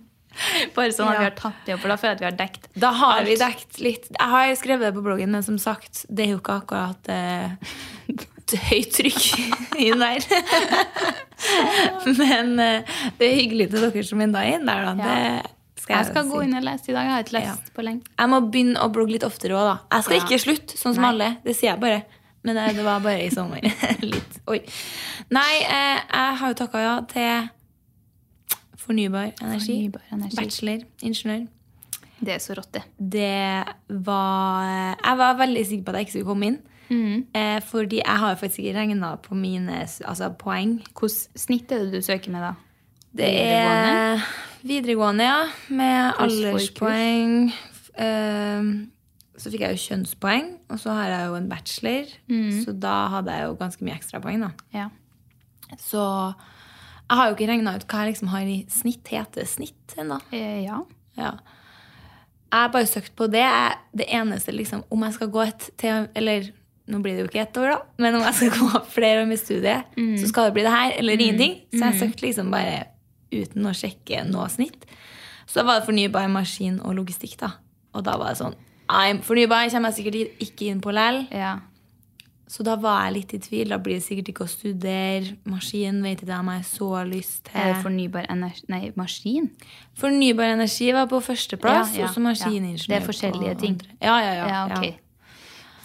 Bare sånn at Ja. vi har tatt det opp, for da føler jeg at vi har dekt. Da har vi Alt. dekt litt. Jeg har skrevet det på bloggen, men som sagt, det er jo ikke akkurat eh, et høyt trykk <laughs> inn der. men eh, det er hyggelig til dere som enda er inn der, da. Ja. Det skal jeg, Jeg skal si. gå inn og lese i dag. Jeg har ikke lest på lenge. Jeg må begynne å blogge litt oftere òg, da. Jeg skal Ja. ikke slutte, sånn som alle. Det sier jeg bare. Men eh, det var bare i sommer. <laughs> litt. Oi. Nei, eh, jeg har jo takka ja til fornybar energi. Fornybar energi. Bachelor. Ingeniør. Det er så rått, det. det var Jeg var veldig sikker på at jeg ikke skulle komme inn. Eh, fordi jeg har jo faktisk ikke regna på mine s- altså, poeng. Hvilket snitt er det du søker med, da? Det er videregående, ja. Med Pluss forkurs. alderspoeng. F- ehm, så fikk jeg jo kjønnspoeng, og så har jeg jo en bachelor. Så da hadde jeg jo ganske mye ekstrapoeng, da. Ja. Så jeg har jo ikke regna ut hva jeg liksom har i snitt. Heter det snitt ennå? Eh, ja. Ja. Jeg har bare søkt på det. Jeg, det eneste, liksom, om jeg skal gå et til Eller nå blir det jo ikke ett år, da, men om jeg skal <laughs> gå flere år med studiet, så skal det bli det her eller ingenting. Så jeg søkte liksom bare uten å sjekke noe snitt. Så var det fornybar maskin og logistikk, da. Og da var det sånn I'm fornybar kommer jeg sikkert ikke inn på lell. ja. Så da var jeg litt i tvil. Da blir det sikkert ikke å studere maskin. Vet ikke om jeg har så lyst til Er det Eh, fornybar energi Nei, maskin? Fornybar energi var på førsteplass, Ja, ja, og så maskiningeniør. ja. Det er forskjellige på ting. andre. Ja, ja, ja, Ja, ok. ja.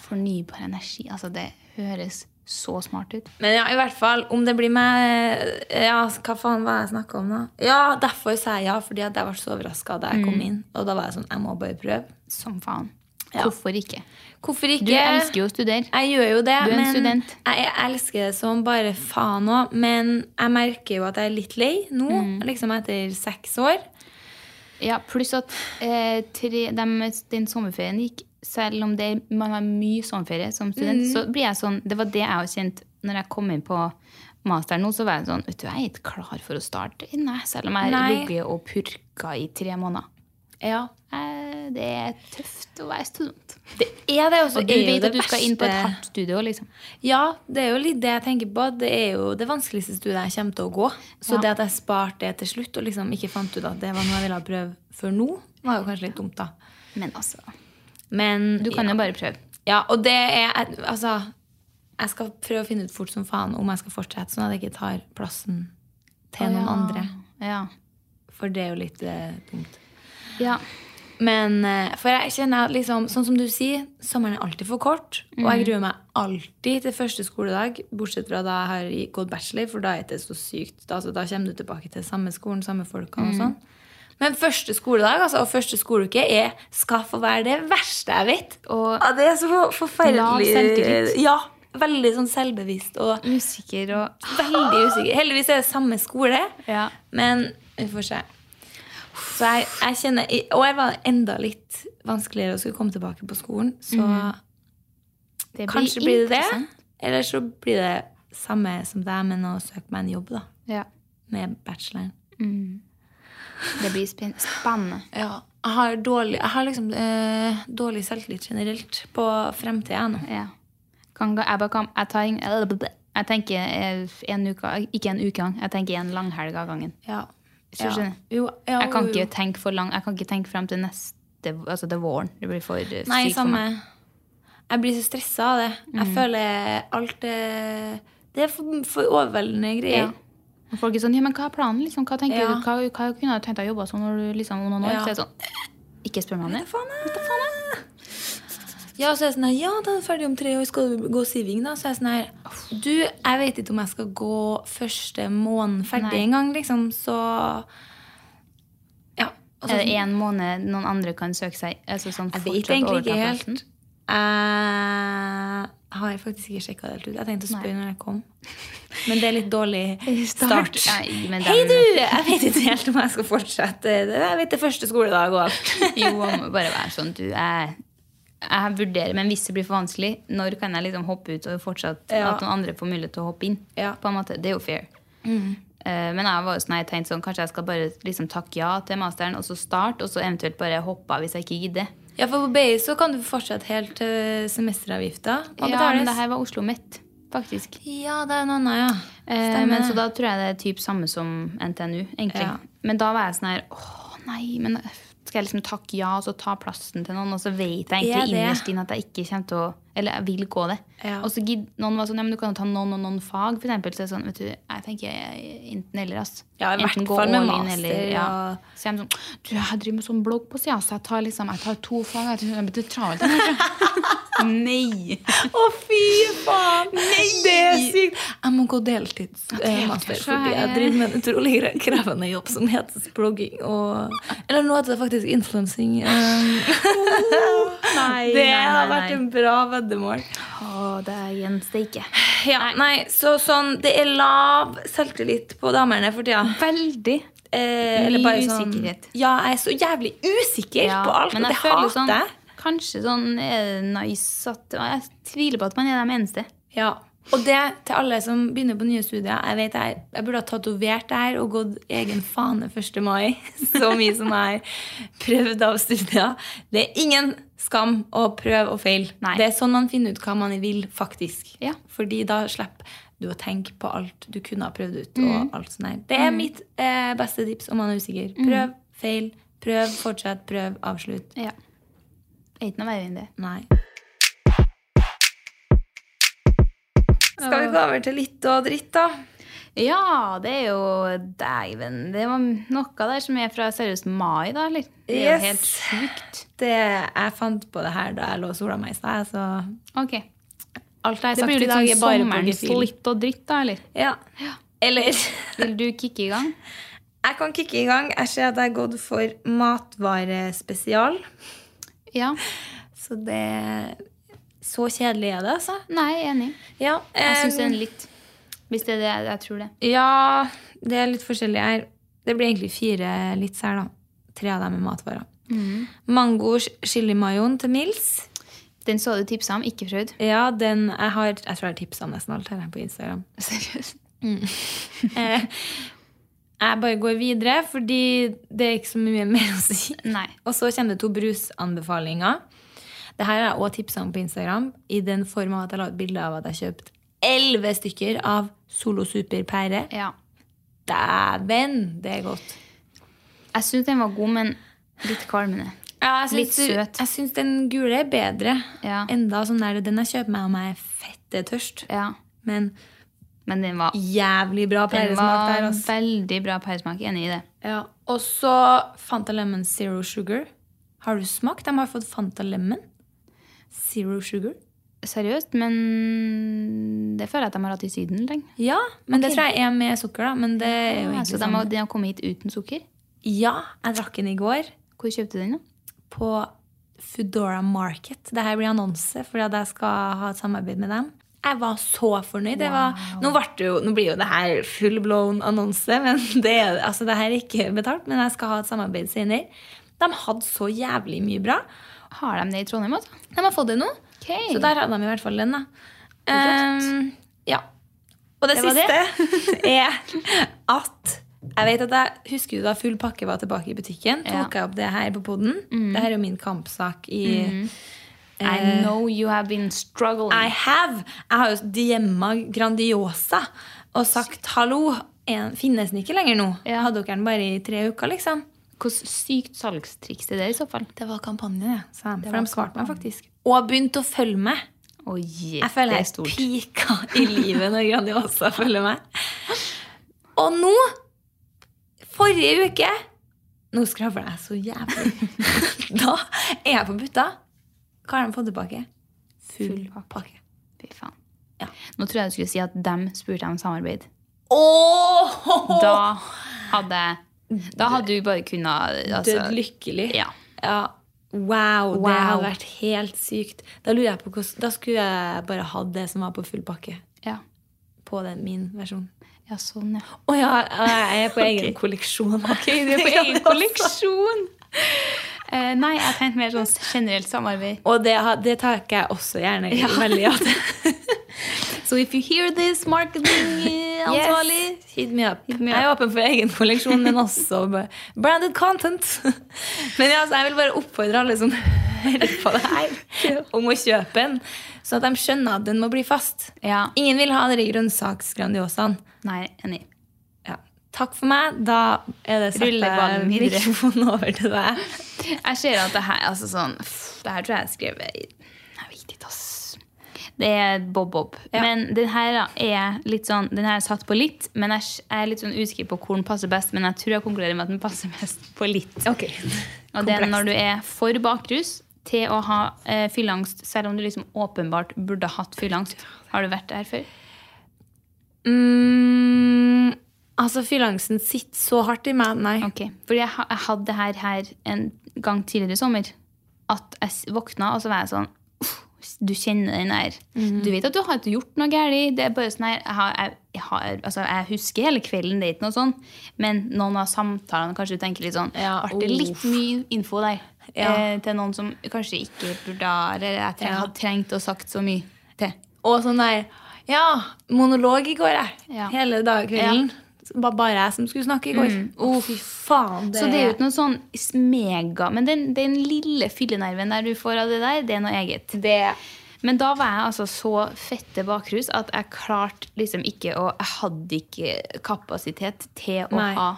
Fornybar energi. Altså, det høres så smart ut. Men ja, i hvert fall, om det blir meg Ja, hva faen var det jeg snakka om, da? Ja, derfor sa jeg ja, fordi at jeg ble så overraska da Mm. jeg kom inn. Og da var jeg sånn, jeg må bare prøve. Som faen. Ja. Hvorfor ikke? Hvorfor ikke? Du elsker jo å studere. Jeg gjør jo det, Du er en men student. jeg elsker det som bare faen òg. Men jeg merker jo at jeg er litt lei nå, Mm. liksom etter seks år. Ja, pluss at eh, tre, dem- den sommerferien gikk Selv om det, man har mye sommerferie som student, så blir jeg sånn Det var det jeg også kjente når jeg kom inn på masteren nå, så var jeg sånn Vet du, jeg er ikke klar for å starte inn, jeg, selv om jeg har Nei. ligget og purka i tre måneder. Ja. Eh, det er tøft å være student. Det er det, også Og du er jo vet det at du skal inn på et verste- hardt studio, liksom. Ja, det er jo litt det jeg tenker på. Det er jo det vanskeligste studiet jeg kommer til å gå. Så Ja. det at jeg sparte det til slutt og liksom ikke fant ut at det var noe jeg ville prøve før nå, var jo kanskje litt dumt, da. Men altså, Men du kan jo bare prøve. Ja, og det er Altså, jeg skal prøve å finne ut fort som faen om jeg skal fortsette, sånn at jeg ikke tar plassen til noen andre. Ja. For det er jo litt eh, dumt. ja. Men eh, for jeg kjenner at liksom, sånn som du sier, sommeren er alltid for kort. Og Mhm. jeg gruer meg alltid til første skoledag, bortsett fra da jeg har i- gått bachelor, for da er det så sykt. Altså, da kommer du tilbake til samme skolen, samme folkene Mhm. og sånn. Men første skoledag altså, og første skoleuke er, skal få være det verste jeg vet. Og Ja, det er så for- Lav forferdelig. selvtillit. Ja, veldig sånn selvbevisst og usikker og veldig usikker. Heldigvis er det samme skole. Ja. Men vi får se. Så jeg, jeg kjenner, og jeg var enda litt vanskeligere å skulle komme tilbake på skolen. Så Det kanskje blir Mhm. det det. interessant. Eller så blir det samme som deg, men å søke meg en jobb da, Ja. med bacheloren. Det blir spen- spennende. Ja, jeg har, dårlig, jeg har liksom eh, dårlig selvtillit generelt på fremtida nå. Ja. Kan, jeg, bare kan, jeg, tar, en- jeg tenker eh, en uke, ikke en uke gang, jeg tenker en langhelg av gangen. Ja. Så skjønner jeg. Jo, ja, Jeg kan jo, ikke jo. tenke for lang, jeg kan ikke tenke frem til neste altså til våren. Det blir for eh, Nei, sykt for samme. meg. Jeg blir så stressa av det. Jeg føler alt eh, Det er for, for overveldende greier. Ja. Og Folk er sånn, ja, men hva er planen? Liksom? Hva, tenker Ja. du, hva, hva kunne du tenkt deg å jobbe som når du liksom om noen år? Ja. Så er det sånn, ikke spør meg om det. Ja, og så er jeg sånn her, ja, da er du ferdig om tre år, skal du gå siving da? Så er jeg sånn her, du, jeg vet ikke om jeg skal gå første måneden ferdig Nei. en gang, liksom, så... Ja, og så, sånn- Er det en måned noen andre kan søke seg? Altså sånn jeg fortsatt vet egentlig ikke overta plassen? helt. Jeg har faktisk ikke sjekket det helt ut. Jeg tenkte å spørre når jeg kom. Men det er litt <laughs> dårlig start. Start. Nei, men Hei den- du, jeg vet ikke helt om jeg skal fortsette. Jeg vet det er første skoledag og alt. <laughs> Jo, man må bare være sånn, du jeg- Jeg vurderer, men hvis det blir for vanskelig, når kan jeg liksom hoppe ut og fortsatt Ja. at noen andre får mulighet til å hoppe inn? Ja. Mm. På en måte, Det er jo fair. Eh, Men jeg var jo sånn, jeg tenkte sånn, kanskje jeg skal bare liksom takke ja til masteren, og så starte, og så eventuelt bare hoppe av hvis jeg ikke gidder. Ja, for på BI så kan du fortsette helt til semesteravgifta. må Ja, betales. men det her var Oslo Met, faktisk. Ja, det er en annen, ja. Eh, men så da tror jeg det er typ samme som NTNU, egentlig. Ja. Men da var jeg sånn her Åh, nei, men skal jeg liksom takke ja og så ta plassen til noen? Og så vet jeg Ja, egentlig det. innerst inne at jeg ikke kommer til å Eller jeg vil gå det. Ja. Og så gidd, noen var sånn Ja, men du kan jo ta noen og noen fag, for eksempel. Så er det sånn, vet du, jeg tenker jeg, enten eller, ass. Ja, i hvert Enten gå fall med all in, master, ja. ja. Så jeg er sånn Du, jeg driver med sånn blogg på sida, så jeg tar liksom Jeg tar to fag. Jeg tror det <laughs> blir travelt. Nei! Å, fy faen! Det er sykt! Jeg må gå det er deltidsmaster, kanskje- fordi jeg driver med en utrolig gre- krevende jobb som heter blogging og Eller nå heter det faktisk influensing. eh. Nei, Det har vært en bra veddemål. Å, det gjenstår ikke. Ja, nei, så sånn Det er lav selvtillit på damene for tida. Veldig. Eh, Mye eller bare sånn usikkerhet. Ja, jeg er så jævlig usikker på alt, og det hater jeg. sånn, Kanskje sånn er det nice at Jeg tviler på at man er de eneste. Ja. Og det til alle som begynner på nye studier. Jeg vet jeg, jeg burde ha tatovert det her og gått egen fane 1. mai. <laughs> Så mye som jeg har prøvd av studier. Det er ingen skam å prøve og feile. Nei. Det er sånn man finner ut hva man vil, faktisk. Ja. Fordi da slipper du å tenke på alt du kunne ha prøvd ut. Mm. og alt sånt her. Det er mitt eh, beste tips om man er usikker. Prøv, feil, prøv, fortsett, prøv, avslutt. Ja. Det er ikke noe verre enn det. Nei. Skal vi gå over til litt og dritt, da? Ja, det er jo Dæven. Det var noe der som er fra seriøst mai, da, eller? Det Yes. er jo helt sjukt. Det, jeg fant på det her da jeg lå og sola meg i stad. Så alt Ok. jeg har Det blir sagt i litt dag, sånn er bare på sommerens gefühl. litt og dritt, da, eller? Ja. Eller <laughs> jeg Vil du kicke i gang? kan kicke i gang. Jeg ser at jeg har gått for matvarespesial. Ja. Så det Så kjedelig er det, altså. Nei, enig. Ja, Jeg syns em, den litt. Hvis det er det jeg- jeg tror det. Ja, det er litt forskjellig her. Det blir egentlig fire litt her, da. Tre av dem er matvarer. Mm. Mango chili mayoen til Mils. Den så du tipsa om, ikke prøvd. Ja, den jeg har Jeg tror jeg har tipsa om nesten alt her jeg, på Instagram. <laughs> Seriøst. Eh, jeg bare går videre, fordi det er ikke så mye mer å si. Nei. Og så kommer det to brusanbefalinger. Det her har jeg også tipsa om på Instagram, i den form at jeg la ut bilde av at jeg kjøpte elleve stykker av Solo Super pære. Ja. Dæven, det er godt. Jeg syns den var god, men litt kvalmende. Ja, jeg syns, Litt søt. Jeg syns den gule er bedre. Ja. Enda sånn der, Den jeg kjøper meg om jeg er fette tørst. Ja. Men Men den var, jævlig bra den pæresmak var der. ass. veldig bra pæresmak. Enig i det. Ja. Og så Fanta Lemon Zero Sugar Har du smakt? De har fått Fanta Lemon. Zero Sugar. Seriøst, men det føler jeg at de har hatt i Syden lenge. Ja, men det tror jeg er med sukker, da. Men det er jo Ja, ikke så de sånn. har, de har kommet hit uten sukker. Ja, jeg drakk den i går Hvor kjøpte du den, da? på Foodora Market. Dette blir annonse fordi at jeg skal ha et samarbeid med dem. Jeg var så fornøyd. Det var, nå, ble det jo, nå blir jo det her full blown annonse, men <laughs> det, er- altså det her er ikke betalt. Men jeg skal ha et samarbeid senere. De hadde så jævlig mye bra. Har de det i Trondheim, altså? De har fått det nå. Okay. Så der hadde de i hvert fall den, da. Flott. Ehm, ja. Og det, Det var siste <laughs> er at jeg vet at jeg husker jo da full pakke var tilbake i butikken, Ja. Mm. tok jeg opp det her på poden. Det her er jo min kampsak i I know you have been struggling. Eh, I have. Jeg har jo diemma Grandiosa og sagt 'hallo, en, finnes den ikke lenger nå?' Ja. Hadde dere den bare i tre uker, liksom? Hvordan sykt salgstriks er det i så fall? Det var kampanje, det. sa de. For var de svarte meg faktisk. Og begynte å følge meg. Å, je, Jeg føler det er jeg stort. pika i livet når Grandiosa følger meg. Og nå, forrige uke Nå skravler jeg så <laughs> jævlig. Da er jeg på butta. Hva har de fått tilbake? Full pakke. Fy faen. Ja. Nå tror jeg du skulle si at dem spurte om samarbeid. Åh! Da hadde Da hadde du bare kunnet altså, Død lykkelig. Ja. Ja. Wow, Wow. det hadde vært helt sykt. Da lurer jeg på hvordan, da skulle jeg bare hatt det som var på full pakke. Ja. På den, min versjon. ja, sånn, ja. Å ja, jeg er på egen kolleksjon. Ok, <laughs> Du <laughs> er på egen kolleksjon! sånn. Eh, nei, jeg tenkte mer sånn generelt samarbeid. Og det, har- det takker jeg også gjerne ja. veldig <laughs> ja til. So if you hear this <laughs> marketing-ansvarlig, hit me up. me Jeg er åpen for egen kolleksjon, men <laughs> også b- branded content. <laughs> Men ja, altså, jeg vil bare oppfordre alle som <laughs> hører på det her, om å kjøpe den, sånn at de skjønner at den må bli fast. Ja. Ingen vil ha dere grønnsaksgrandiosaen. Nei, enig. Ja. Takk for meg. Da er det Ruller ballen jeg videre. mikrofonen over til deg. Jeg ser at det her altså sånn, pff, Det her tror jeg jeg skrev i- Jeg vet ikke, ass. Det er bob-bob. Men den her da, er litt sånn Den her er satt på litt, men jeg s- jeg er litt sånn usikker på hvor den passer best. Men jeg tror jeg konkluderer med at den passer <laughs> best på litt. Ok. Og det er når du er for bakrus til å ha eh, fylleangst, selv om du liksom åpenbart burde hatt fylleangst. Har du vært der før? Mm, altså, fyllangsten sitter så hardt i meg. Nei. Ok, fordi jeg, ha- jeg hadde det her, her en gang tidligere i sommer. At jeg s- våkna, og så var jeg sånn «Uff, Du kjenner den her. Mm. Du vet at du har ikke gjort noe galt. Det er bare sånn her, jeg, har, jeg, jeg, har, altså, jeg husker hele kvelden, det er ikke noe sånn. Men noen av samtalene kanskje du tenker litt sånn Ja, Ble det litt uff. mye info der? Ja. Eh, til noen som kanskje ikke burde ha Eller jeg treng, Ja. hadde trengt å sagt så mye til. Og sånn der Ja, monolog i går, jeg. Ja. Mm. Hele dagkvelden. Det var bare jeg som skulle snakke i går. Å, fy faen. Så det er jo ikke noe sånn s- mega Men den, den lille fyllenerven der du får av det der, det er noe eget. Men da var jeg altså så fette bakrus at jeg klarte liksom ikke å Jeg hadde ikke kapasitet til å Nei. ha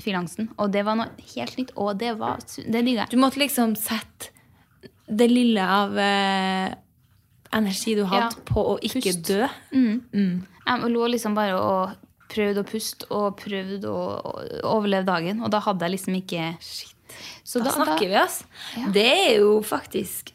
fylleangsten. Og det var noe helt nytt, og det var su- Det digga jeg. Du måtte liksom sette det lille av eh, energi du hadde, Ja. Mm. på å ikke Pust. dø. Mm. Jeg lå liksom bare og prøvde å puste og prøvde å å overleve dagen, og da hadde jeg liksom ikke Så Da, snakker vi, ass. Ja. Det er jo faktisk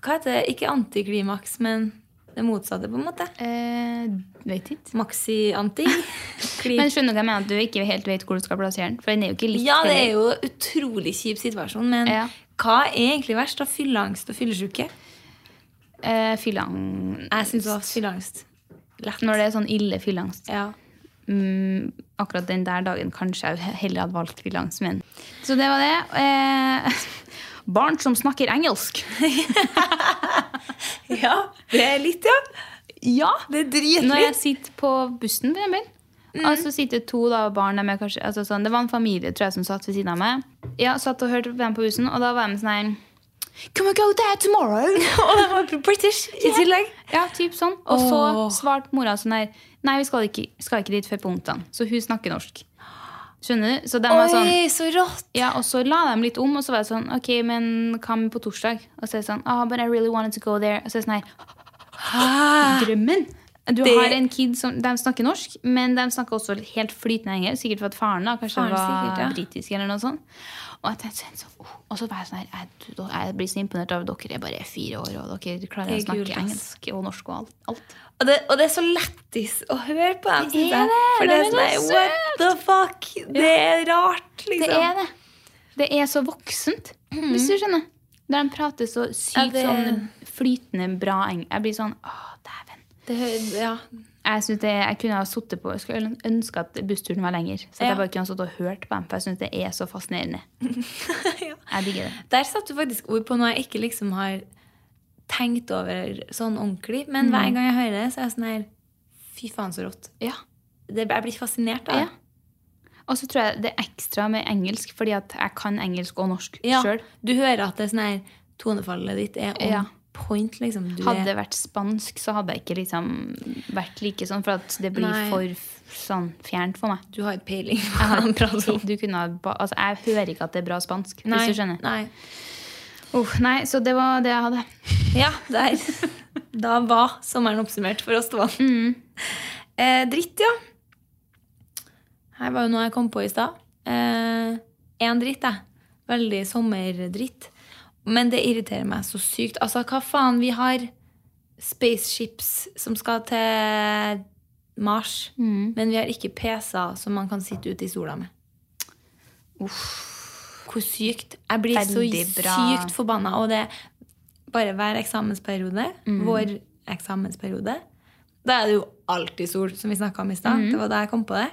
Hva heter det? Ikke antiklimaks, men det motsatte, på en måte. Eh, vet ikke. Maxi-anti. <laughs> Kli- Men skjønner du hva jeg mener? At du ikke helt vet hvor du skal plassere den? For den er jo ikke litt Ja, det er heller. jo en utrolig kjip situasjon, men Ja. hva er egentlig verst? Da fylleangst og fyllesyke? Eh, fylleang- Jeg syns det var fylleangst. Lett. Når det er sånn ille fylleangst. Ja. Mm, akkurat den der dagen kanskje jeg heller hadde valgt fylleangst, men Så det var det. Eh, <laughs> barn som snakker <laughs> engelsk. ja, det er litt, ja. Ja! Det er Når jeg dritlitt. sitter på bussen, for eksempel, Mhm. og så sitter to da, barn der med kanskje altså, sånn, Det var en familie tror jeg, som satt ved siden av meg. Ja, satt og hørte på dem på bussen, og da var de sånn her Can we go there <laughs> tomorrow? Og de var British i tillegg. Ja, typ sånn. Og så Åh. svarte mora sånn her Nei, vi skal ikke, skal ikke dit før på onsdag. Så hun snakker norsk. Skjønner du? Så de var sånn Oi, så rått. ja, og så la de litt om, og så var det sånn OK, men hva med på torsdag? Og så er det sånn ah, but I really wanted to go there. Og så er det sånn her Drømmen! Du Det- har en kid som de snakker norsk, men de snakker også helt flytende engelsk. Sikkert for at faren da, kanskje Faren var sikkert, ja. britisk. eller noe sånt. Og jeg tenkte sånn, så- oh. og så var jeg sånn her, jeg, jeg blir så imponert av dere er bare fire år, og dere klarer å Det er snakke kult, ass. engelsk og norsk og alt. alt. Og det, og det er så lættis å høre på dem. Det synes er jeg. det, For de det er er sånn så her, What the fuck? Det er rart, Det liksom. er det. Det er så voksent, hvis du skjønner. Der de prater så sykt Mhm. Ja, det- sånn flytende bra engelsk. Jeg blir sånn Å, dæven. Det- ja. Jeg synes det, jeg kunne ha sittet på, jeg skulle ønske at bussturen var lenger. Så at Ja. jeg bare kunne ha sittet og hørt på dem, for jeg synes det er så fascinerende. <laughs> ja. Jeg digger det. Der satte du faktisk ord på noe jeg ikke liksom har tenkt over sånn ordentlig. Men hver Mm. gang jeg hører det, så er jeg sånn her Fy faen, så rått. Ja. Det, jeg blir fascinert av det. Og så tror jeg det er ekstra med engelsk, fordi at jeg kan engelsk og norsk Ja. selv. Du hører at det er sånn her tonefallet ditt er on Ja. point, liksom. Du Hadde er, det vært spansk, så hadde jeg ikke liksom vært like sånn, for at det blir Nei. for f- sånn fjernt for meg. du har peiling. Jeg, <laughs> har, du kunne, ha ba- altså, jeg hører ikke at det er bra spansk, Nei, hvis du skjønner. Nei. Uff, nei, så det var det jeg hadde. Ja, <laughs> der. Da var sommeren oppsummert for oss to. Mm. Eh, dritt, ja. Her var jo noe jeg kom på i stad. Én dritt, jeg. Veldig sommerdritt. Men det irriterer meg så sykt. Altså, hva faen? Vi har spaceships som skal til Mars, Mm. men vi har ikke PC-er som man kan sitte ute i sola med. Hvor sykt. Jeg blir Veldig så bra. sykt forbanna. Og det bare hver eksamensperiode, Mm. vår eksamensperiode, da er det jo alltid sol, som vi snakka om i stad. Mm. Det var da jeg kom på det.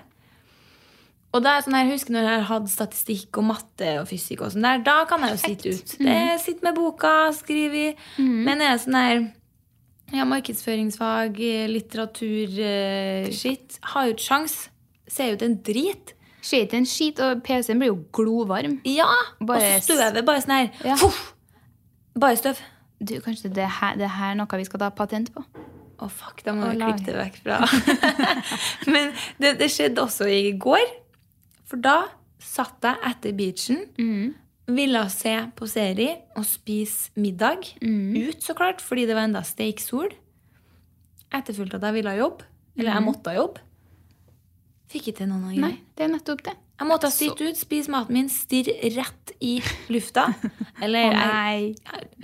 Og da er sånn her, jeg husker når jeg har hatt statistikk og matte og fysikk, og sånn der, da kan jeg jo sitte ut. Det, sitte med boka, skrive i. Mm. Men er det sånn her ja, markedsføringsfag, eh, litteratur, eh, shit Har jo ikke sjans. Ser jo ut en drit. Skit i en skit, og PC-en blir jo glovarm. Ja! og Bare så s- støvet bare sånn her. Ja. Fuff! Bare støv. Du, kanskje det her, det her er noe vi skal ta patent på? Å, fuck, da må Å, jeg lag. klippe det vekk fra. <laughs> Men det, det skjedde også i går. For da satt jeg etter beachen, Mm. ville se på serie og spise middag. Mm. Mhm. Ut, så klart, fordi det var enda steiksol. Etterfulgt at jeg ville ha jobb. Eller jeg måtte ha jobb. Fikk ikke til noen av Mhm. Nei, greiene. det er nettopp det. Jeg måtte sitte ut, spise maten min, stirre rett i lufta. <laughs> Eller Å, jeg, Eh, nei.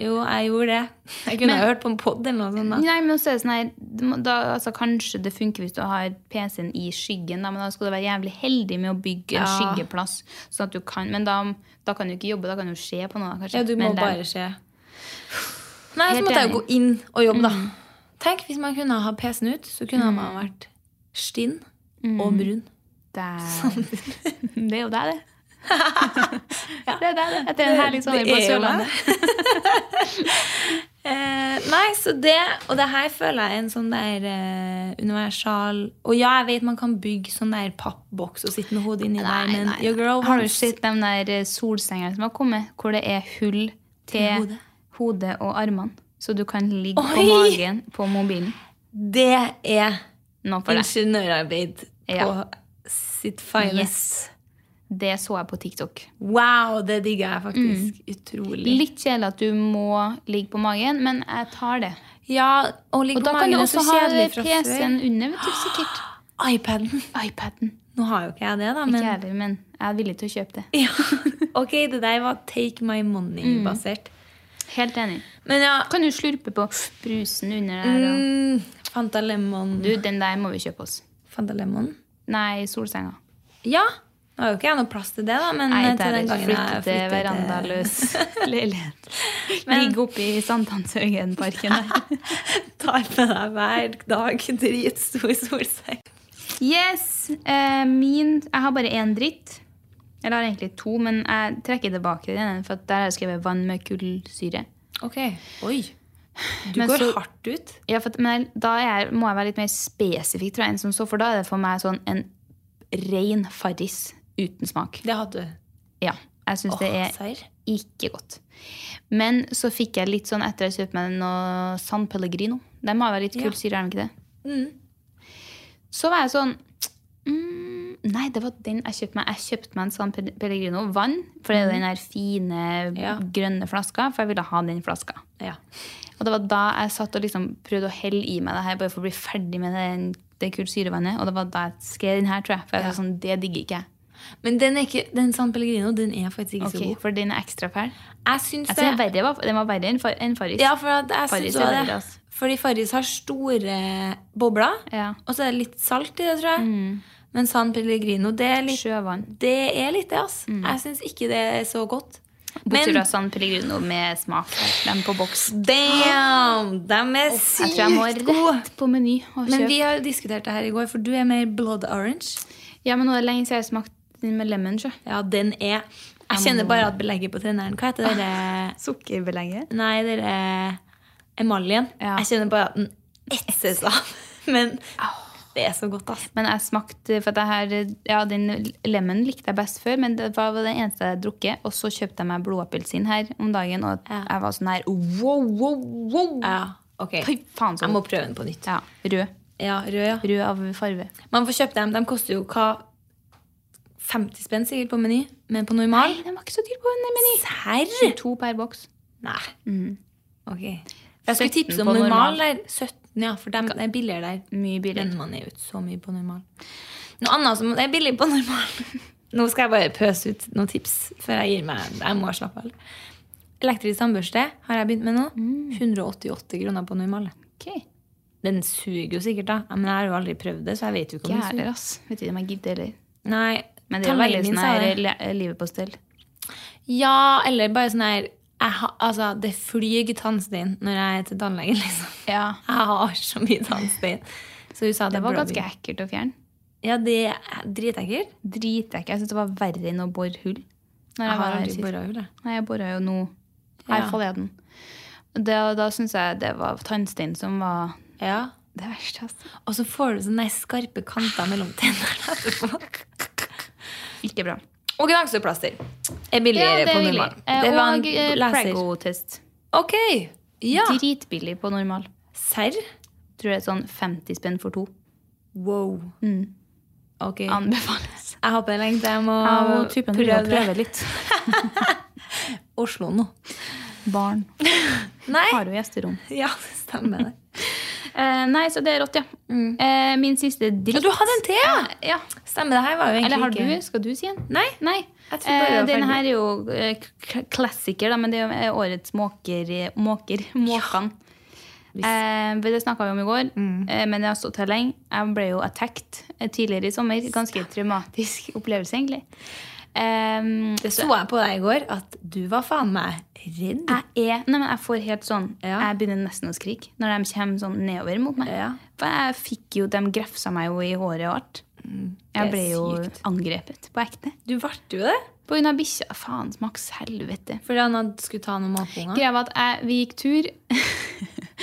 Jo, jeg gjorde det. Jeg kunne Men- ha hørt på en pod eller noe sånt. da. Nei, men også er det sånn her, det må- da, altså, Kanskje det funker hvis du har PC-en i skyggen, da, men da skal du være jævlig heldig med å bygge en Ja. skyggeplass. Sånn at du kan, men da, da kan du ikke jobbe, da kan du se på noe. kanskje. Ja, du må men det- bare se. Nei, så Helt måtte jeg jo gå enig. Mhm. inn og jobbe, da. Tenk hvis man kunne ha PC-en ut, så kunne man vært stinn Mhm. og brun. Det, eh, <laughs> det er jo deg, <laughs> det. Det er sånn deg, det. Etter en herlig sommer det på er jo Sørlandet. <laughs> Eh, nei, så det Og det her føler jeg er en sånn der eh, universal Og ja, jeg vet man kan bygge sånn der pappboks og sitte med hodet inni der, men your girl Har du wants- sett de der eh, solsengene som har kommet, hvor det er hull til hodet. hodet, og armene? Så du kan ligge på Oi! magen på mobilen. Det er Nå for deg. ingeniørarbeid på Ja. sitt finest. Det så jeg på TikTok. Wow, det digger jeg Mm. faktisk. Utrolig. Litt kjedelig at du må ligge på magen, men jeg tar det. Ja, og ligge Og på da kan du magen er også så ha kjedelig fra før. PC-en under, vet du, <gasps> sikkert. iPaden. <laughs> iPaden. Nå har jo ikke jeg det, da, Ikke men jeg heller, men jeg er villig til å kjøpe det. <laughs> ja. Ok, det der var take my Mm. money-basert. Helt enig. Men ja Kan du slurpe på brusen under der? Og... mm, Fanta Lemon Du, den der må vi kjøpe oss. Fanta Lemon? Nei, solsenga. Ja. Nå har jo ikke jeg noe plass til det, da, men Nei, eh, til der den gangen flytte jeg til flyttet verandaløs <laughs> leilighet. Ligge oppe i Sankthanshaugenparken der. Tar med deg hver dag dritstor solsekk. <laughs> Yes! Eh, min Jeg har bare én dritt. Eller jeg har egentlig to, men jeg trekker tilbake den ene, for at der har jeg skrevet vann med kullsyre. Ok. Oi. Du Men går så- hardt ut. Ja, for, at- men da er, må jeg være litt mer spesifikk, tror jeg, enn som så, for da er det for meg sånn en ren farris uten smak. Det hadde du. Ja, jeg syns det Åh, er Serr. ikke godt. Men så fikk jeg litt sånn etter jeg kjøpte meg noe San Pellegrino. De har vel litt Ja. kullsyre, er de ikke det? Mm. Så var jeg sånn mm, Nei, det var den jeg kjøpte meg. Jeg kjøpte meg en San Pel- Pellegrino vann, for det er jo den her fine, Mhm. Ja. grønne flaska, for jeg ville ha den flaska. Ja. Og det var da jeg satt og liksom prøvde å helle i meg det her bare for å bli ferdig med den, det kulsyrevannet. Og det var da jeg skrev den her, tror jeg. For jeg Ja. var sånn, det digger ikke jeg. Men den, er ikke, den San Pellegrino den er faktisk ikke Ok, så god. Liksom. For den er ekstra fæl. Jeg syns Jeg det. synes den verre var- den var verre enn far- enn Farris. Ja, for at jeg Farris synes er også bedre, det. altså. Fordi Farris har store bobler, Ja. og så er det litt salt i det, tror jeg. Mm. Men San Pellegrino, det er litt Sjøvann. det, er litt det ass. Jeg syns ikke det er så godt. Bortsett fra San Pellegrino med smak. Den på boks. damn! De er Jeg tror jeg må sykt gode! rett på Meny og Men kjøpe. vi har diskutert det her i går, for du er mer blood orange. Ja, men nå er det lenge siden jeg har smakt den med lemon. Sjø. Ja, den er Jeg kjenner bare at belegget på tennene Hva heter det? Sukkerbelegget? Nei, det er emaljen. Ja. Jeg kjenner bare at den etses av. <laughs> Men det er så godt, ass. Men jeg smakte for at jeg har, ja, Den lemon likte jeg best før, men det var det eneste jeg hadde drukket. Og så kjøpte jeg meg blodapelsin her om dagen, og Ja. jeg var sånn her wow, wow, wow! Ja, ok. Fy faen, så Jeg må prøve den på nytt. Ja, rød. Ja, rød, ja. Rød av farve. Man får kjøpt dem. De koster jo hva 50 spenn sikkert på Meny, men på normal Nei, den var ikke så dyr på en meny. Serr? To per boks. Nei. Ok. Mm. Jeg 17 skulle tipse om på normal. normal der. 17, ja, for dem er billigere der. Mye billigere. Men man er jo ikke så mye på normal. Noe annet som er billig på normal. <laughs> Nå skal jeg bare pøse ut noen tips før jeg gir meg. Jeg må slappe av. Elektrisk tannbørste har jeg begynt med nå. Mm. 188 kroner på normal. Ok, Den suger jo sikkert, da. Men jeg har jo aldri prøvd det, så jeg vet jo ikke om den suger. Gærer, ass. Vet ikke om jeg gidder heller. Nei, Men det er jo tannlegen veldig min sånn sa her det. le- livet på stell. Ja, eller bare sånn her jeg ha, Altså, det flyr tannstein når jeg er til tannlegen, <laughs> liksom. Ja. Jeg har så mye tannstein. Så hun sa det, Det var burde ganske vi- ekkelt å fjerne. Ja, det er dritekkelt. Dritekkelt. Jeg syns det var verre enn å bore hull. Når Jeg jeg har var her aldri sist. bora hull, jeg. Nei, jeg bora jo nå Ja. her forleden. Da, da syns jeg det var tannstein som var Ja. det verste. Altså. Og så får du sånne skarpe kanter mellom tennene <laughs> etterpå. Ikke bra. Og gnagsårplaster er billigere på normal. Eh, var en og eh, leser. Prego-test. Ok. Ja. Dritbillig på normal. Serr? Tror det er sånn 50 spenn for to. Wow. Mm. Ok. Jeg Anbefales. har på en lengde. Jeg må Jeg og typen vil prøve prøve litt. Oslo nå. Barn. Nei. Har jo gjesterom. Ja, det <laughs> stemmer det. Eh, nei, så det er rått, ja. Eh, min siste dritt. Ja, du hadde en til, ja! Ja. Stemmer, det her var jo egentlig Eller har ikke du? Skal du si en? Nei. Nei. Jeg tror bare det Eh, var denne ferdig. her er jo eh, k- klassiker, da, men det er jo eh, årets måker, eh, måker måkene. Eh, for det snakka vi om i går, Mm. eh, men jeg har stått her lenge. Jeg ble jo attacked eh, tidligere i sommer. Ganske traumatisk <laughs> opplevelse, egentlig. Eh, Det så jeg på deg i går, at du var faen meg redd. jeg er Nei, men jeg får helt sånn Ja. Jeg begynner nesten å skrike når de kommer sånn nedover mot meg. Ja. For jeg fikk jo De grefsa meg jo i håret og alt. Mm. er Jeg ble jo sykt. angrepet på ekte. Du ble jo det, På grunn av bikkja. Faen, maks helvete. fordi han hadde- skulle ta noen matpunger. Greia var at jeg, vi gikk tur. <laughs>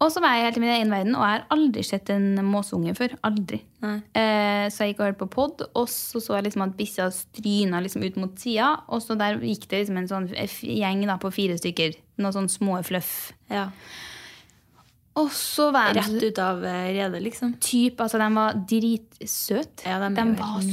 og så var jeg helt i min egen verden, og jeg har aldri sett en måsunge før. Aldri. Nei. Eh, så jeg gikk og hørte på pod, og så så jeg liksom at bikkja stryna liksom ut mot sida. Og så der gikk det liksom en sånn f- gjeng da, på fire stykker. Noen sånn små fluff. Ja. Og så var jeg Rett ut av eh, redet, liksom. typ, altså De var dritsøte. Ja, de er de jo var helt så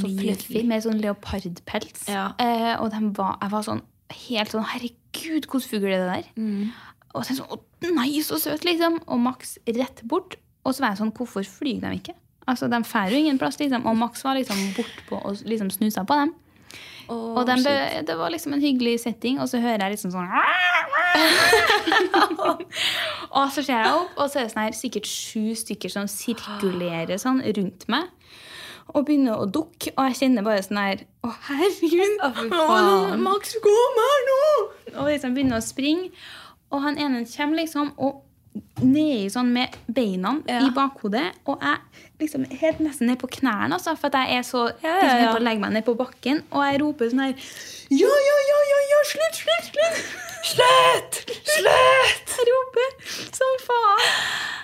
nydelige. fluffy med sånn leopardpels. Ja. Eh, og de var, jeg var sånn helt sånn Herregud, hvordan fugl er det der? Mm. Og så er jeg sånn, å nei, så søt, liksom. Og Max rett bort. Og så var jeg sånn, hvorfor flyr de ikke? Altså, De får jo ingen plass, liksom. Og Max var liksom bortpå og liksom snusa på dem. Og dem ble, det var liksom en hyggelig setting, og så hører jeg liksom sånn <laughs> Og så ser jeg opp, og så er det sånn her, sikkert sju stykker som sirkulerer sånn rundt meg. Og begynner å dukke, og jeg kjenner bare sånn her Å, herregud! Å, fy faen. Max, kom her nå! Og liksom begynner å springe. Og han ene kommer liksom og nedi sånn med beina Ja. i bakhodet. Og jeg liksom er helt nesten ned på knærne, altså, for at jeg er så Ja, ja, liksom, helt ja. på å legge meg ned på bakken, og jeg roper sånn her Ja, ja, ja, ja, ja, slutt, slutt, slutt! Slett! Slett! Jeg roper som faen!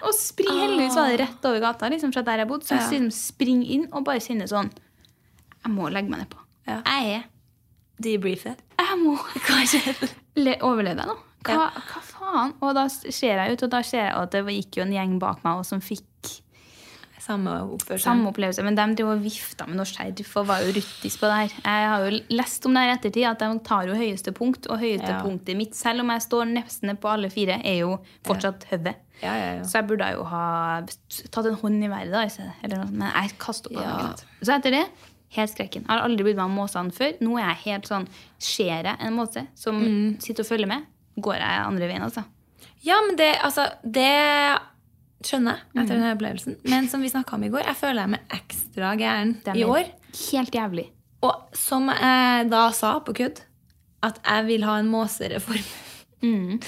Og spring, heldigvis var det rett over gata liksom, fra der jeg bodde. Så jeg Ja. liksom springer inn og bare kjenner sånn Jeg må legge meg nedpå. Ja. Jeg er Debriefet. Jeg <laughs> må Le- Overlevde jeg nå? Hva, hva faen? Og da ser jeg ut, og da ser jeg at det gikk jo en gjeng bak meg og som fikk Samme oppførsel. Samme opplevelse, men de driver og vifta med norsk sheriff og var jo ruttis på det her. Jeg har jo lest om det her i ettertid, at de tar jo høyeste punkt, og høyeste Ja. punktet mitt, selv om jeg står nesten på alle fire, er jo fortsatt høvet. Ja, ja, ja. Så jeg burde jo ha tatt en hånd i været, da, i stedet. Eller noe. sånt, Men jeg kastet opp. Ja. Ja. Så etter det, helt skrekken. Jeg har aldri brydd meg om måsene før. Nå er jeg helt sånn Ser jeg en måse som Mm. sitter og følger med, går jeg andre veien, altså. Ja, men det, altså, det skjønner jeg etter denne opplevelsen. Men som vi snakka om i går, jeg føler jeg meg ekstra gæren Det er i mer- år. Helt jævlig. Og som jeg da sa på kødd, at jeg vil ha en måsereform. Mm.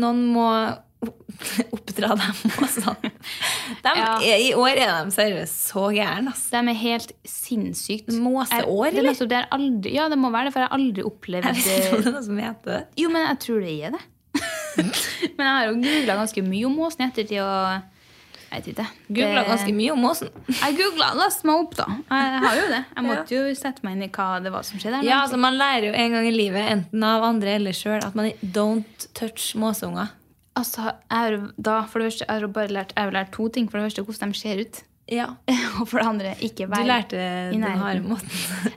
Noen må opp- oppdra de måsene. De, Ja. er- I år er de seriøst så gærne, altså. De er helt sinnssykt Måseår, Jeg- det er eller? nettopp det jeg aldri, ja, det må være det, for jeg har aldri Jeg vet ikke om opplevd det <laughs> er noe som heter det. Jo, men jeg tror det er det. Mm. <laughs> men jeg har jo googla ganske mye om måsen i ettertid, og jeg vet ikke. Googla Det- ganske mye om måsen. Jeg googla last meg opp, da. Jeg har jo det. <laughs> Jeg måtte jo sette meg inn i hva det var som skjedde. her, Ja, men- altså Man lærer jo en gang i livet, enten av andre eller sjøl, at man don't touch måseunger. altså, jeg har jo da, for det første, jeg har jo bare lært, jeg har jo lært to ting. For det første hvordan de ser ut. <laughs> Ja, Og for det andre Du ikke være lærte den nærheten. harde måten.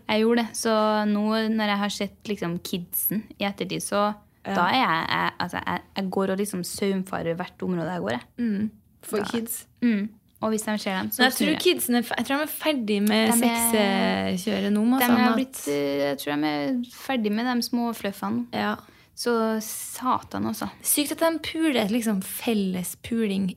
Jeg gjorde det. Så nå når jeg har sett liksom kidsen i ettertid, så da er jeg, jeg Altså, jeg, jeg går og liksom saumfarer hvert område jeg går, jeg. For kids. Mm. Og hvis de ser dem, så Men jeg snur tror kidsen er, fe- jeg tror de er ferdig med De er- sexkjøret nå. De altså, er at- blitt, eh, jeg tror de er ferdig med de små fluffene. ja. Så satan, altså. Sykt at de puler liksom felles puling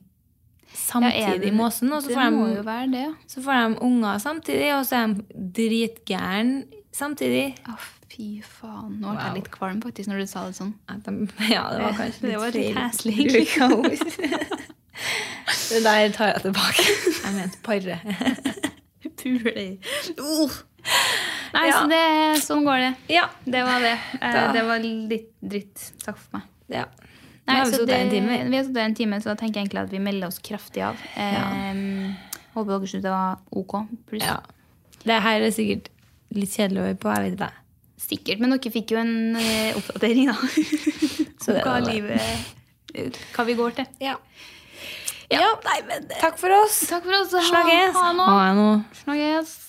Ja, er samtidig det- i måsen. Og så det får, må jo de, være det, ja. så får de unger samtidig, og så er de dritgærne samtidig. Å, fy faen. Nå Wow. ble jeg litt kvalm faktisk når du sa det sånn. At de, <laughs> ja, det var kanskje <laughs> Det var feil litt heslig. bruk av <laughs> ord. Det der tar jeg tilbake. Jeg mente pare. Puler. Uh. Nei, Ja. så det, sånn går det. Ja. Det var det. Eh, Da- Det var litt dritt. Takk for meg. ja. Nå Nei, har vi så sittet det, en time. vi. Vi har sittet en time, så da tenker jeg egentlig at vi melder oss kraftig av. Eh, Håper dere syntes det var ok. Pluss. Ja. Det her er sikkert litt kjedelig å høre på, jeg vet ikke. Sikkert, men dere fikk jo en eh, oppdatering, da. <laughs> Så Om det hva var det. livet Hva vi går til. Ja. Nei, men, Takk for oss. Takk for oss. Ha, Snakkes. ha nå. Ha det nå. Snakkes.